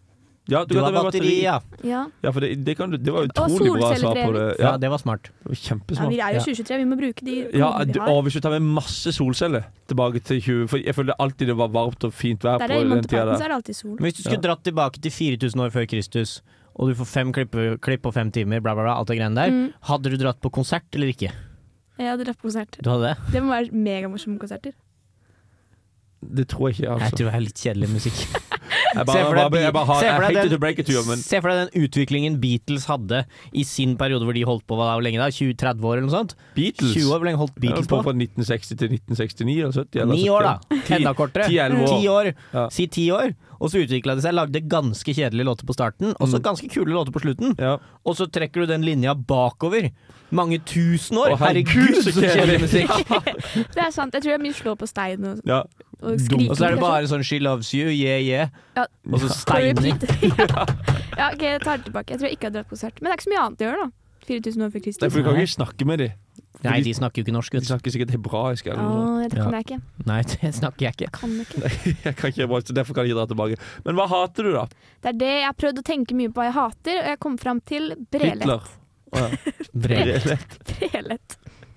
ja, Du har kan ta med batteri, ja. Ja, Ja, for det, det, kan du, det var Og utrolig bra svar på det. solcelledrevet. Ja, Ja, det var smart. det var ja Vi kjempesmart. er jo 2023, vi må bruke de Ja, hodene du, vi og har. hvis du tar med masse solceller tilbake til 20 For jeg følte alltid det var varmt og fint vær på Der er I den Monty tida Python så der. er det alltid sol. Men hvis du skulle dratt tilbake til 4000 år før Kristus, og du får fem klipp, klipp på fem timer, bla, bla, bla, alt det greiene der, Mm. hadde du dratt på konsert eller ikke? Jeg hadde dratt på konsert. Du hadde det? Det må være megamorsomme konserter. Det tror jeg ikke, Jeg altså. tror det er litt kjedelig musikk. Jeg bare, jeg bare, jeg bare har, Se for jeg deg hater den- to break it to you, men Se for deg den utviklingen Beatles hadde i sin periode hvor de holdt på hva da, hvor lenge da? 20-30 år eller noe sånt? Beatles 20 år hvor lenge holdt Jeg Beatles holdt på på? fra 1960 til 1969 eller 70 eller Ni år, 70. da. Enda kortere. altså, ti, elleve år. Ti år. Ja. Si ti år. Og så utvikla de seg, lagde ganske kjedelige låter på starten, og Mm. så ganske kule låter på slutten. Ja. Og så trekker du den linja bakover. Mange tusen år! Å, Herregud, så kjedelig musikk! Det er sant. Jeg tror jeg mye slår på stein og, Ja. og skriker. Og så er det kanskje. bare sånn 'She loves you, yeah, yeah'. Ja. Og så På steiner. repeat. ja. ja, ok, jeg tar det tilbake. Jeg tror jeg ikke har dratt på konsert. Men det er ikke så mye annet å gjøre, da. 4000 år før Nei, for Kristus. du kan ikke snakke med dem. Nei, de snakker jo ikke norsk, De vet du. snakker sikkert hebraisk eller Å, noe sånt. det kan jeg ikke. Nei, det snakker jeg ikke. Kan ikke. Jeg kan ikke hebraisk, så derfor kan jeg ikke dra tilbake. Men hva hater du, da? Det er det jeg har prøvd å tenke mye på hva jeg hater, og jeg kom fram til brelett. Hitler? Å, ja. Brele. brelett.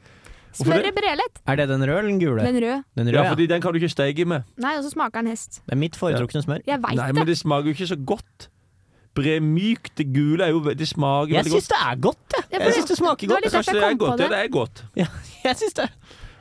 Hvorfor det? Smør i brelett. Er det den røde eller den gule? Den røde. Den ja, røde, ja. fordi den kan du ikke steige med. Nei, og så smaker den hest. Det er mitt foretrukne smør. Jeg veit Nei, det. men det smaker jo ikke så godt. Bre mykt, det gule er jo ve- Det smaker Jeg veldig syns godt. det er godt, jeg. Ja, for Jeg syns det smaker det var godt. litt Kanskje derfor det er jeg kom godt. på Ja, det. det er godt. Jeg syns det.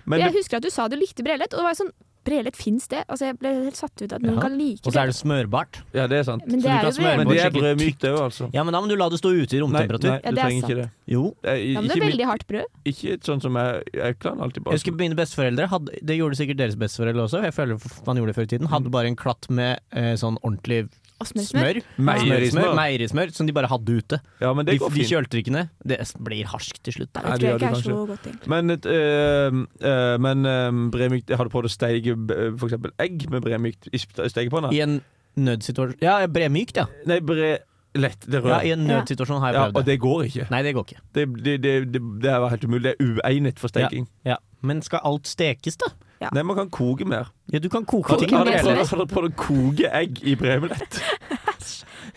Men Jeg det, husker at du sa du likte brelett, og det var sånn Brelett fins det? Altså, jeg ble helt satt ut av at noen Ja. kan like Og så er brelett. det smørbart. ja, det er sant. Så Men det du er kan jo brelett. smøre Men på det er skikkelig brødmykt òg, altså. Ja, men da må du la det stå ute i Nei, romtemperatur. nei, Ja, du det er trenger ikke det. Jo. Det er i- Ja, men ikke, det er mitt- veldig hardt brød. ikke et sånt som jeg Jeg kan alltid bare Jeg husker mine besteforeldre hadde, Det gjorde sikkert deres besteforeldre også, jeg føler man gjorde det før i tiden. Hadde bare en klatt med eh, sånn ordentlig Og smørsmør. Meierismør. Meierismør som de bare hadde ute. Ja, men det de, går de fint. kjølte det ikke ned. Det blir harsk til slutt. Nei, det tror jeg ikke er så godt, egentlig. Men, et, eh, eh, men eh, bremykt Jeg hadde prøvd å steige eh, for eksempel egg med bremykt i st- stekepanna. I en nødsituasjon Ja, bremykt, ja. Nei, bre... Lett. Det rører. Ja, I en nødsituasjon har jeg Ja, prøvd og det går ikke. Nei, det går ikke. Det, det, det, det, det er helt umulig. Det er uegnet for steking. Ja, Men skal alt stekes, da? Ja. Nei, man kan koke mer. Ja, du kan koke Har ting. har med dere sånn prøvd- det. har dere prøvd å koke egg i bremlett?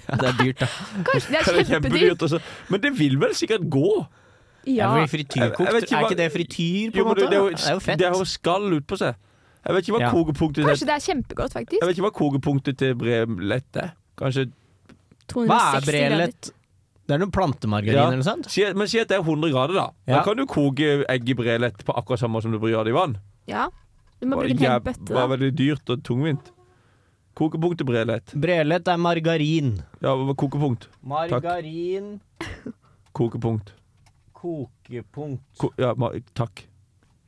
Ja, det er dyrt, da. Kanskje det Det er er kjempedyrt. kjempedyrt. også. Men det vil vel sikkert gå? Ja. Jeg blir frityrkokt. Jeg vet ikke er hva- ikke det frityr, på en Jo, men måte? det, det, er jo, Det er jo fett. Det er jo skall utpå seg. Jeg vet ikke hva Ja. kokepunktet Kanskje det er kjempegodt, Jeg faktisk. vet ikke hva kokepunktet til bremlett er. Kanskje Hva 260 er grader. brelett? Det er noen plantemargarin Ja. eller noe sånt? Si, men si at det er 100 grader, da. Da Ja. kan du koke egg i brelett på akkurat samme som du gjør det i vann. Ja. Du må bruke en hel Det bøtte, var da. veldig dyrt og tungvint. Kokepunkt til brelett. Brelett er margarin. Ja, hva var kokepunkt? Margarin Kokepunkt. kokepunkt. Ko ja, ma takk.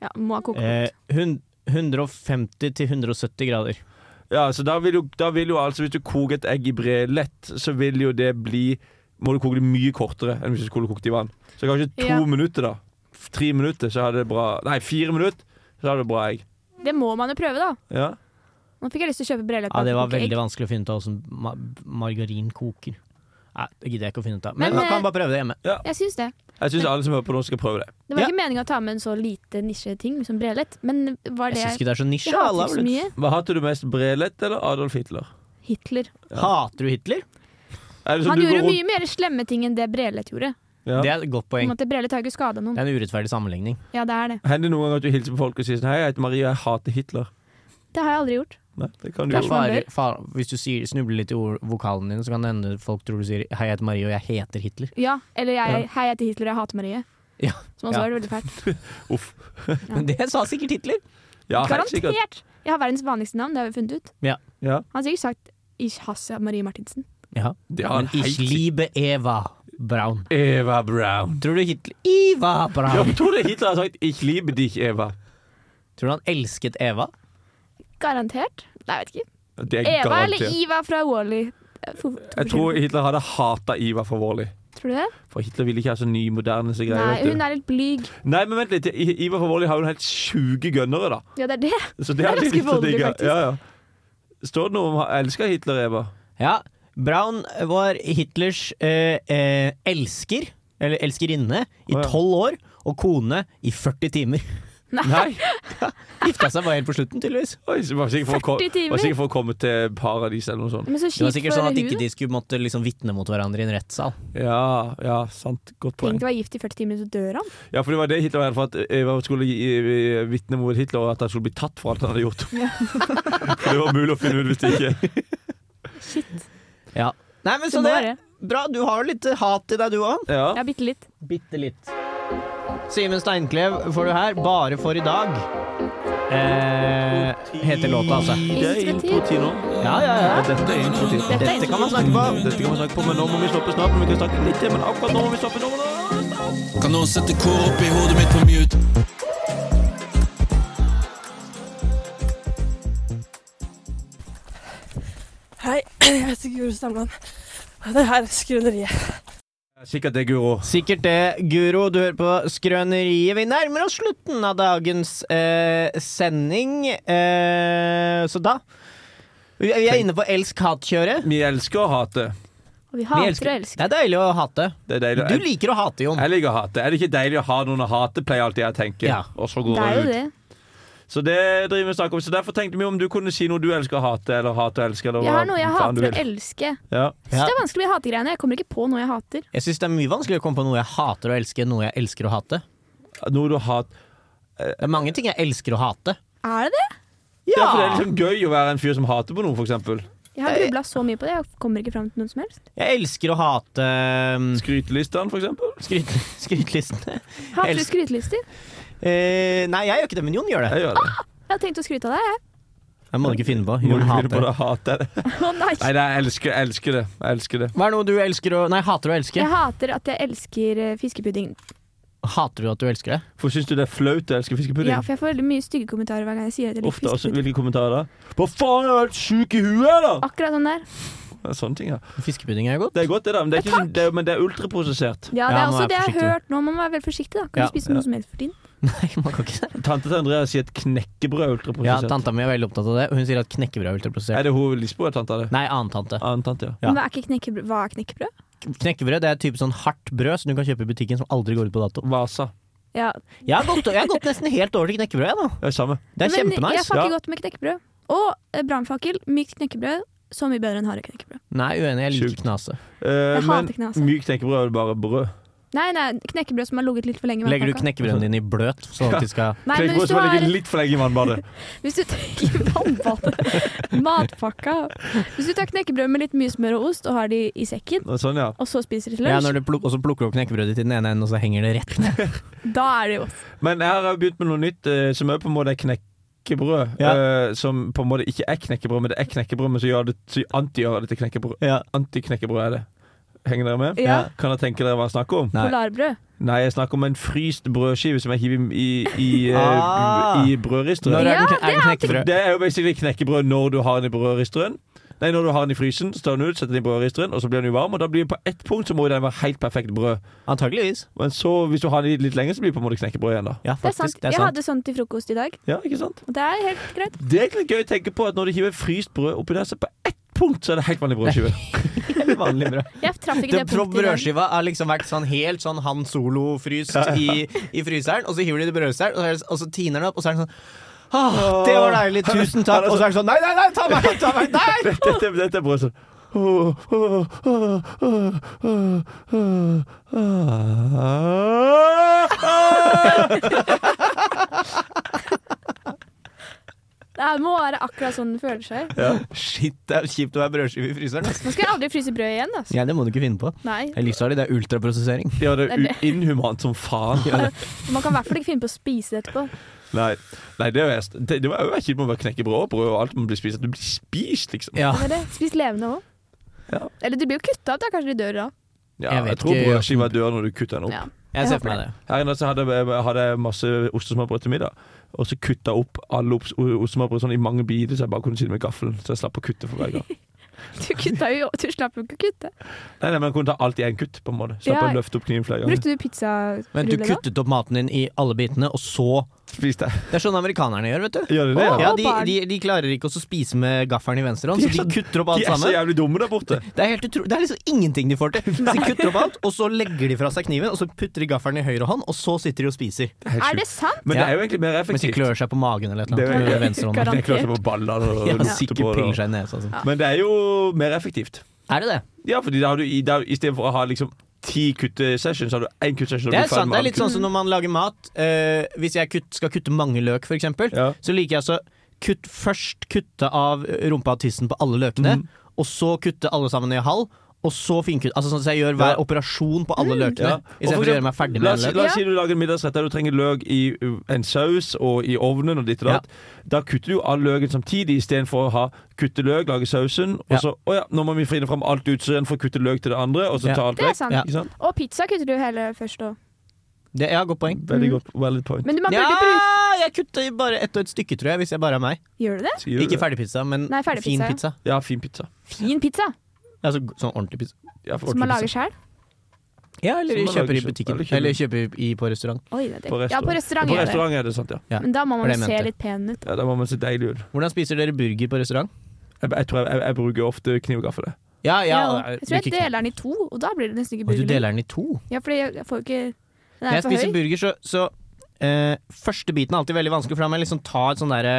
Ja, må ha Eh, kokepunkt. hun- 150 til 170 grader. Ja, så da vil, jo, da vil jo altså Hvis du koker et egg i brelett, så vil jo det bli Må du koke det mye kortere enn hvis du skulle kokt det i vann. Så kanskje to Ja. minutter, da. F- Tre minutter, så har det bra Nei, fire minutter, så har det bra egg. Det må man jo prøve, da. Ja. Nå fikk jeg lyst til å kjøpe brelett. Ja, det var og koke egg. veldig vanskelig å finne ut av hvordan ma margarin koker. Nei, det gidder jeg ikke å finne ut av. Men, Men, man kan eh, bare prøve det hjemme. Jeg syns det. Jeg syns alle som hører på nå, skal prøve det. Det var Ja. ikke meninga å ta med en så lite nisjeting som brelett, men var Jeg det syns ikke det er så nisje. Jeg hater alle ikke er så vel- mye. Hva Hater du mest Brelett eller Adolf Hitler? Hitler. Hater du Hitler? Er det sånn Han du går gjorde rundt- mye mer slemme ting enn det Brelett gjorde. Ja. Det er et godt På en poeng. måte, Brelett har jo ikke skada Det noen. er en urettferdig sammenligning. Ja, det er det. Hender det noen ganger at du hilser på folk og sier sånn Hei, jeg heter Marie, og jeg hater Hitler. Det har jeg aldri gjort. Nei, det kan Det du jo. er Kanskje man fare, far, hvis du sier, snubler litt i ord, vokalen din, så kan det hende folk tror du sier 'Hei, jeg heter Marie, og jeg heter Hitler'. Ja, Eller jeg, hei, jeg heter Hitler, jeg hater Marie. Ja. Som også Ja. var veldig fælt. Uff. Men det sa sikkert Hitler. Ja, helt sikkert. Garantert! Jeg har verdens vanligste navn, det har vi funnet ut. Ja. Han har sikkert sagt Ish Hassia Marie Martinsen. Ja. Det har Men han helt ich sikkert. liebe Eva Braun. Eva Brown. Tror du Hitler Eva Ja, Braun! men tror du Hitler har sagt 'Ich liebe dich, Eva'? Tror du han elsket Eva? Garantert? Nei, jeg vet ikke. Det er Eva garantert. eller Iva fra Wally? Jeg tror Hitler hadde hata Iva for voldelig. Tror du det? For Hitler ville ikke ha så ny, moderne så greier. Nei, vet du. hun er litt blyg. Nei, men vent litt. I- Ivar for voldelig har jo en helt sjuke gønnere, da. Ja, det er det. Så Det det er er ganske litt å voldelig, digge. faktisk. Ja, ja. Står det noe om han elsker Hitler, Eva? Ja. Braun var Hitlers eh, eh, elsker, eller elskerinne, i Å, ja. tolv år, og kone i 40 timer. Nei! Gifta seg bare helt på slutten, tydeligvis. Oi, så var sikkert for å, 40 kom, timer. var sikkert for å komme til paradis eller noe sånt. Men så Det var kjipt sikkert for sånn at hun. ikke de skulle måtte liksom vitne mot hverandre i en rettssal. Ja, ja, sant. Godt poeng. Tenk å være gift i 40 timer, så dør han. Ja, for det var det Hitler var redd for, at Eva skulle gi- vitne mot Hitler, og at han skulle bli tatt for alt han hadde gjort. for det var mulig å finne ut hvis det ikke Shit. Ja. Nei, men Det så må det, være. Bra, du har litt eh, hat i deg, du òg. Ja. Ja, bitte litt. Bitte litt. Simen Steinklev får du her, bare for i dag. Eh, heter låta, altså. Det er introtid nå. Ja, ja, ja. Og dette er introtid. Dette er Dette kan man snakke på. Dette kan vi snakke på, men nå må vi stoppe snart. Men vi kan snakke litt til, men akkurat nå må vi stoppe. Nå må vi Kan noen sette kor opp i hodet mitt på mute? Hei, jeg heter Guro Stamland. Og det her er Skrøneriet. Sikkert det, Guro. Sikkert det, Guro. Du hører på Skrøneriet. Vi nærmer oss slutten av dagens eh, sending, eh, så da Vi vi er inne på elsk-hat-kjøret. Vi elsker å hate. Og vi Vi hater og elsker- elsker. Det er deilig å hate. Det er deilig. Du liker å hate, Jon. Jeg liker å hate. Er det ikke deilig å ha noen å hate, pleier alltid jeg å tenke. Ja. Og så går Det er jo jeg ut. det. Så det driver vi og snakker om. Så derfor tenkte vi om du kunne si noe du elsker å hate, eller hate og elske, eller Jeg har noe jeg faen du hater å vil. elske. Ja. Jeg synes det er vanskelig med hategreiene. Jeg kommer ikke på noe jeg hater. Jeg syns det er mye vanskelig å komme på noe jeg hater å elske, enn noe jeg elsker å hate. Noe du hat... Det er mange ting jeg elsker å hate. Er det det? Ja. for det er liksom gøy å være en fyr som hater på noe, for eksempel. Jeg har grubla så mye på det. Jeg kommer ikke fram til noe som helst. Jeg elsker å hate um, Skrytelistene, for eksempel. skryt, skrytelistene. Hater du Elsk- skrytelister? Eh, nei, jeg gjør ikke det, men Jon gjør det. Jeg gjør det. Jeg hadde tenkt å skryte av deg, jeg. Det må du ikke finne på. Må Jon du finne på hater. det, hater jeg det. Å nei. Nei, det er, jeg elsker, jeg elsker det. Jeg elsker det. Hva er noe du elsker å Nei, hater å elske? Jeg hater at jeg elsker eh, fiskepudding. Hater du at du elsker det? For syns du det er flaut å elske fiskepudding? Ja, for jeg får veldig mye stygge kommentarer hver gang jeg sier at jeg liker Ofte også, fiskepudding. Hvilke kommentarer da? Hva faen, er du helt sjuk i huet, eller? Akkurat sånn der. Det er Sånne ting, ja. Fiskepudding er godt. Det er godt, det, da. Men det er, ikke, sånn- det er, men det er ultraprosessert. Ja, det er også det jeg har hørt nå. Man må være veldig forsiktig, da. Kan Ja. du spise Ja. noe som helst for tiden? Tante til Andrea sier et knekkebrød er Ja, ultraprosessert. tanta mi er veldig opptatt av det. og Hun sier at knekkebrød er ultraprosessert. Er det hun Lisboa-tanta? det? Nei, annen tante. Annen tante, Men hva er ikke knekkebrød? Hva er knekkebrød? Knekkebrød det er type sånn hardt brød som du kan kjøpe i butikken som aldri går ut på dato. Vasa. Ja. Jeg har gått, jeg har gått nesten helt over til knekkebrød, jeg nå. Det er samme. Det er Men Jeg kjempenice. fucker godt med knekkebrød. Og eh, brannfakkel, mykt knekkebrød, så mye bedre enn harde knekkebrød. Nei, uenig. Jeg liker knase. Eh, Jeg men hater knase. mykt knekkebrød er det bare brød. Nei, nei, knekkebrød som har ligget litt for lenge. i Legger du vannpakka. knekkebrødene dine i bløt, sånn at de skal Nei, men hvis Knekkebrød du som har har- ligget litt for lenge i vannbadet. Hvis du tar i vannbadet Matpakka. Hvis du tar knekkebrød med litt mye smør og ost og har de i sekken, Og Sånn, ja. og så spiser de til Ja, lunsj, når du pluk og så plukker du opp knekkebrødet til den ene enden, og så henger det rett ned. da er det jo Men her har jeg begynt med noe nytt eh, som er på en måte knekkebrød. eh, som på en måte ikke er knekkebrød, men det er knekkebrød, men så gjør det så anti-gjør det til knekkebrød. Antiknekkebrød er det. Henger dere med? Ja. Kan dere tenke dere hva jeg snakker om? polarbrød. Nei, jeg snakker om en fryst brødskive som jeg hiver i, i, i, Ah. eh, i brødristeren. Når er den- Ja, er den det er alltid- knekkebrød? Det er jo basically knekkebrød når du har den i brødristeren. Nei, når du har den i frysen, så tar den ut, setter den i brødristeren, og så blir den jo varm. Og da blir den på ett punkt så må den være helt perfekt brød. Antakeligvis. Men så, hvis du har den i litt lenger, så blir det på en måte knekkebrød igjen, da. Ja, Det er sant. Jeg hadde sånn til frokost i dag. Ja, ikke sant? Og det er helt greit. Det er egentlig gøy å tenke på at når de hiver fryst brød oppi der, så på ett punkt så er det helt vanlig brødskive. Helt vanlig brød. Jeg traff ikke det, Det fra punktet i dag. brødskiva har liksom vært sånn helt sånn Han Solo-fryst Ja, ja. i, i fryseren, og så hiver de det i brødristeren, og, så er det- og så tiner den opp, og så er den sånn ah, Det var deilig, tusen takk. Og så er den sånn Nei, nei, nei, ta meg, ta meg! Nei! dette, dette er brød sånn «Åh, åh, åh, åh, åh, åh, åh, åh». Det er- må være akkurat sånn det føler seg. Ja. Shit, det er kjipt å være brødskive i fryseren. ass. Nå skal jeg aldri fryse brød igjen, altså. Ja, det må du ikke finne på. Nei. Det er livsfarlig. Det er ultraprosessering. Ja, det er u- Det er inhumant som faen. Man kan i hvert fall ikke finne på å spise det etterpå. Nei, nei, det er jo est- Det, det var jo kjipt med å bare knekke brød og brød og alt man blir spist. at Du blir spist, liksom. Det er det. Spis levende òg. Eller de blir jo kutta opp, da. Kanskje de dør da. Jeg Ja, jeg, vet tror ikke- brødskiva dør når du kutter den opp. Ja. Jeg ser for meg det. Her inne så hadde jeg, hadde jeg masse ostesmørbrød til middag, og så kutta jeg opp alle ops- o- ostesmørbrød sånn i mange biter, så jeg bare kunne si det med gaffelen. Så jeg slapp å kutte for hver gang. Du kutta jo Du slapp jo ikke å kutte. Nei, nei, men jeg kunne ta alt i én kutt, på en måte. Slapp Ja. å løfte opp kniven flere ganger. Brukte du pizzarulle Men du da? kuttet opp maten din i alle bitene, og så Spiste jeg. Det er sånn amerikanerne gjør, vet du. Gjør de det, ja? ja, Å, de, barn. de, de klarer ikke å spise med gaffelen i venstre hånd, De så er de så- kutter opp alt de er så sammen. jævlig dumme der borte. Det er, helt utro det er liksom ingenting de får til. Så de kutter opp alt, og så legger de fra seg kniven, og så putter de gaffelen i høyre hånd, og så sitter de og spiser. helt Er sjukt. det sant? Men det er jo egentlig mer Mens de klør seg på magen eller et Det eller er jo- annet. Med venstre hånd. Det er klart jeg må balle og Ja, lukte sikkert på det. piller seg i nesa, sånn. Men det er jo mer effektivt. Er det det? Ja, fordi da har du i- da- i stedet for å ha liksom ti kuttesessions, så har du én kuttesession. og Det blir er ferdig sant. Det med all er litt sånn kutt. som når man lager mat. eh, hvis jeg kutt, skal kutte mange løk, for eksempel, så liker jeg altså kutt, først kutte av rumpa og tissen på alle løkene, Mm. og så kutte alle sammen i halv. Og så finkutte. Altså sånn at jeg gjør hver operasjon på alle løkene. Mm. Ja. I stedet Og for, for å gjøre meg eksempel, ferdig La med en oss, si- løk. la oss si du lager en middagsrett der du trenger løk i uh, en saus og i ovnen og ditt og datt. Da kutter du all løken samtidig istedenfor å ha kutte løk, lage sausen, og så Å ja, nå må vi finne fram alt utstyret for å kutte løk til det andre, og så ta alt Det er vekk. sant. Ikke sant? Og pizza kutter du hele først òg. Det, ja, godt poeng. Veldig godt. Valid point. Mm. Men du- man burde ja, bruke- jeg kutter i bare ett og et stykke, tror jeg, hvis jeg bare er meg. Gjør du det? Ikke ferdigpizza, men Nei, ferdig fin pizza, pizza. Ja, ja. fin pizza. Fin pizza Altså g- sånn ordentlig pizza. som man lager sjøl. Ja, eller Som man kjøper i lager selv. butikken. Eller kjøper- Eller kjøper i, på restaurant. Oi, det er digg. Ja, på restaurant På gjør det. restaurant er det sant, ja. Ja. Men da For må man det jeg jo se mente. litt pen ut. ja da må man se deilig ut. Hvordan spiser dere burger på restaurant? Jeg, jeg tror jeg, jeg, jeg bruker ofte kniv og gaffel. jeg. Ja, ja, jeg tror jeg deler den i to, og da blir det nesten ikke Å, du burger. deler den i to? Ja, fordi jeg, jeg får jo ikke Når Den er jeg for høy. spiser burger, så, så eh, Første biten er alltid veldig vanskelig, for da må jeg liksom ta et sånn derre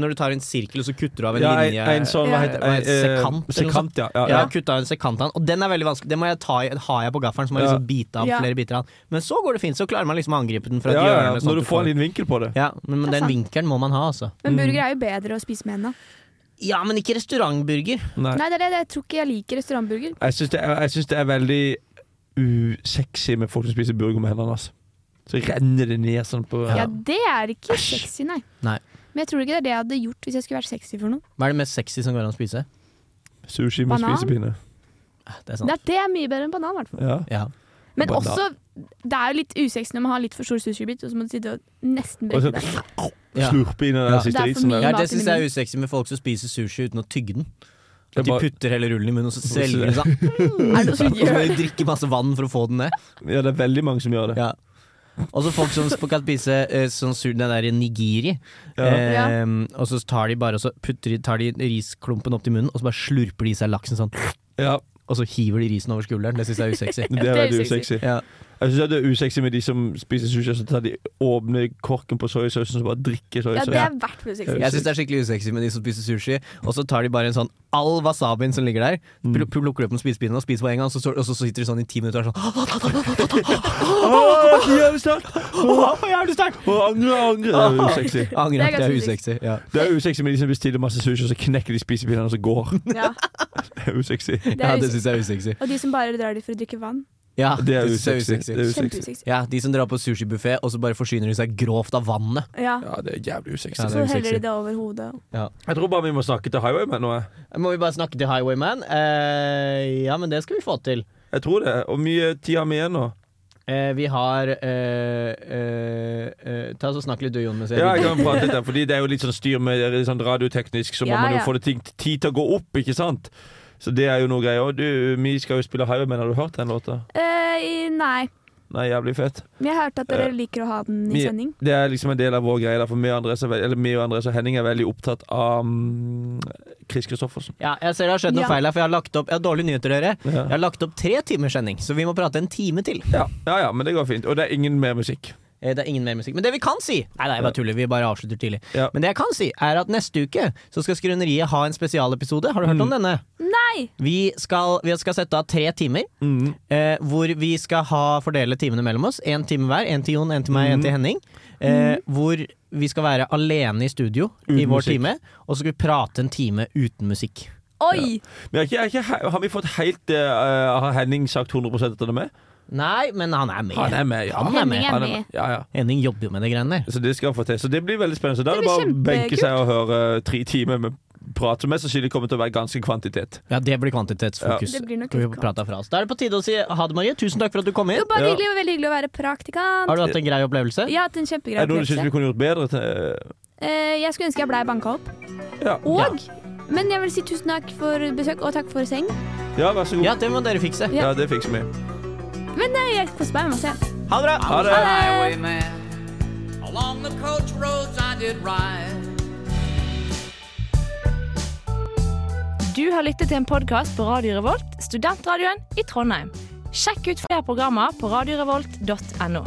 Når du tar en sirkel, og så kutter du av en Ja, en- linje en sånn, hva heter- Hva heter det? eh, Sekant? eller noe sekant, sånt. ja, ja, Jeg ja. har kuttet av en sekant av den, og den er veldig vanskelig. Det må jeg ta i, har jeg på gaffelen, så må jeg Ja. liksom bite av Ja. flere biter av den. Men så går det fint, så klarer man liksom å angripe den fra Ja, et ja, hjørne. ja. sånn at Når du får en får- liten vinkel på det. Ja, men, men Det den er sant. vinkelen må man ha, altså. Men burger er jo bedre å spise med hendene. Ja, men ikke restaurantburger. Nei. Nei, det er det. Jeg tror ikke jeg liker restaurantburger. Jeg syns det, er- jeg synes det er veldig usexy med folk som spiser burger med hendene. Altså. Så renner det ned sånn på Ja, det er ikke sexy, nei. Nei. Men jeg tror ikke det er det jeg hadde gjort hvis jeg skulle vært sexy for noen. Hva er det mest sexy som går an å spise? Ah, Sushi med Banan? spisepinne. Det er Det, det er mye bedre enn banan, i hvert fall. Ja. Men Banan. også, det er jo litt usexy når man har litt for stor sushibit, og så må du sitte og nesten Og så brekke deg. slurpe inn den der siste Det er for isen. mye der. Ja, mat det i syns jeg er munnen. usexy med folk som spiser sushi uten å tygge den. De putter hele rullen i munnen, og så svelger de sånn. Er det noen som Og så må gjør de det? drikke masse vann for å få den ned. Ja, det er veldig mange som gjør det. Og så folk som kan spise eh, sånn sur, den der i nigiri. Ja. Eh, Ja. Og så tar de bare og så putter de, tar de risklumpen opp til munnen, og så bare slurper de i seg laksen sånn. Og så hiver de risen over skulderen. Det syns jeg er usexy. Det er veldig usexy. Ja. Jeg synes det er usexy med de som spiser sushi, og så tar de åpne korken på soyasausen og bare drikker soyasausen. Jeg syns det er skikkelig usexy med de som spiser sushi, og så tar de bare en sånn all wasabien som ligger der, pl- plukker opp med spisepinnen og spiser på en gang, og så, står- og så sitter de sånn i ti minutter og er sånn Åh, jævlig sterkt! Åh, jævlig sterkt! Åh, angre, angre. Det er usexy. Angre, det er ganske usexy, ja. Det er usexy med de som bestiller masse sushi, og så knekker de spisepinnene, og så går. Ja. Det er usexy. Det er Ja, det usexy. synes jeg er usexy. Og de som bare drar dit for å drikke vann. Ja, Det er synes jeg usexy. Det er usexy. Kjempeusexy. Ja, de som drar på sushibuffé, og så bare forsyner de seg grovt av vannet. Ja. Ja, det er jævlig usexy. Ja, det Så er heller de usexy. det over hodet. Ja. Jeg tror bare vi må snakke til Highwayman nå. jeg. Må vi bare snakke til Highwayman? Eh, ja, men det skal vi få til. Jeg tror det. Og mye tid har vi igjen nå. Eh, vi har eh, eh, eh, Ta oss og Snakk litt du, Jon. mens Ja, jeg kan drikker. prate litt der, fordi det er jo litt sånn styr med litt sånn radioteknisk, så må Ja, man jo ja. få det ting, tid til å gå opp, ikke sant? Så det er jo noe greier. Og du, vi skal jo spille Highwayman, har du hørt den låta? Eh, i- nei. Nei, jævlig fett. Men jeg hørte at dere Eh, liker å ha den i Vi- sending. Det er liksom en del av vår greie, der, for vi og Andres er veld- eller vi og Andres og Henning er veldig opptatt av mm, Chris Christoffersen. Ja, jeg ser det har skjedd noe Ja. feil her, for jeg har lagt opp Jeg har dårlige nyheter, dere. Jeg har lagt opp tre timers sending, så vi må prate en time til. Eh, Ja. ja ja, men det går fint. Og det er ingen mer musikk. Det er ingen mer musikk. Men det vi kan si Nei, nei, jeg bare tuller. Vi bare avslutter tidlig. Men det jeg kan si, er at neste uke så skal Skrøneriet ha en spesialepisode. Har du hørt om Mm. denne? Nei! Vi skal, vi skal sette av tre timer, Mm. eh, hvor vi skal ha, fordele timene mellom oss. Én time hver. Én til Jon, én til meg, én Mm. til Henning. Eh, Hvor vi skal være alene i studio i vår Uten musikk. time, og så skal vi prate en time uten musikk. Oi! Men er ikke, er ikke, he- har vi fått helt eh, Har Henning sagt 100 at han er med? Nei, men han er med. Han er med, ja. Han er med. Han er med. Ja, ja. Henning jobber jo med det greiene der. Så det skal han få til. Så det blir veldig spennende. Så da er Det det bare blir å benke kjempekult. seg og høre eh, tre timer med prat, som mest sannsynlig kommer til å være ganske kvantitet. Ja, det blir kvantitetsfokus. Ja. Det blir nok Skal vi litt prate fra oss. Da er det på tide å si ha det, Marie. Tusen takk for at du kom inn. Jo, bare hyggelig, og veldig hyggelig å være praktikant. Har du hatt en grei opplevelse? Jeg har hatt en kjempegrei Er det noe du syns vi opplevelse. kunne gjort bedre? Til? Eh, jeg skulle ønske jeg blei banka opp. Ja. Og Men jeg vil si tusen takk for besøk, og takk for seng. Ja, vær så god. Ja, det må dere fikse. Ja, Ja. det fikser vi. Men eh, jeg koser meg masse. Ha det bra! Ha det. Along the coach roads I did ride. Du har lyttet til en podkast på Radio Revolt, studentradioen i Trondheim. Sjekk ut flere programmer på radiorevolt.no.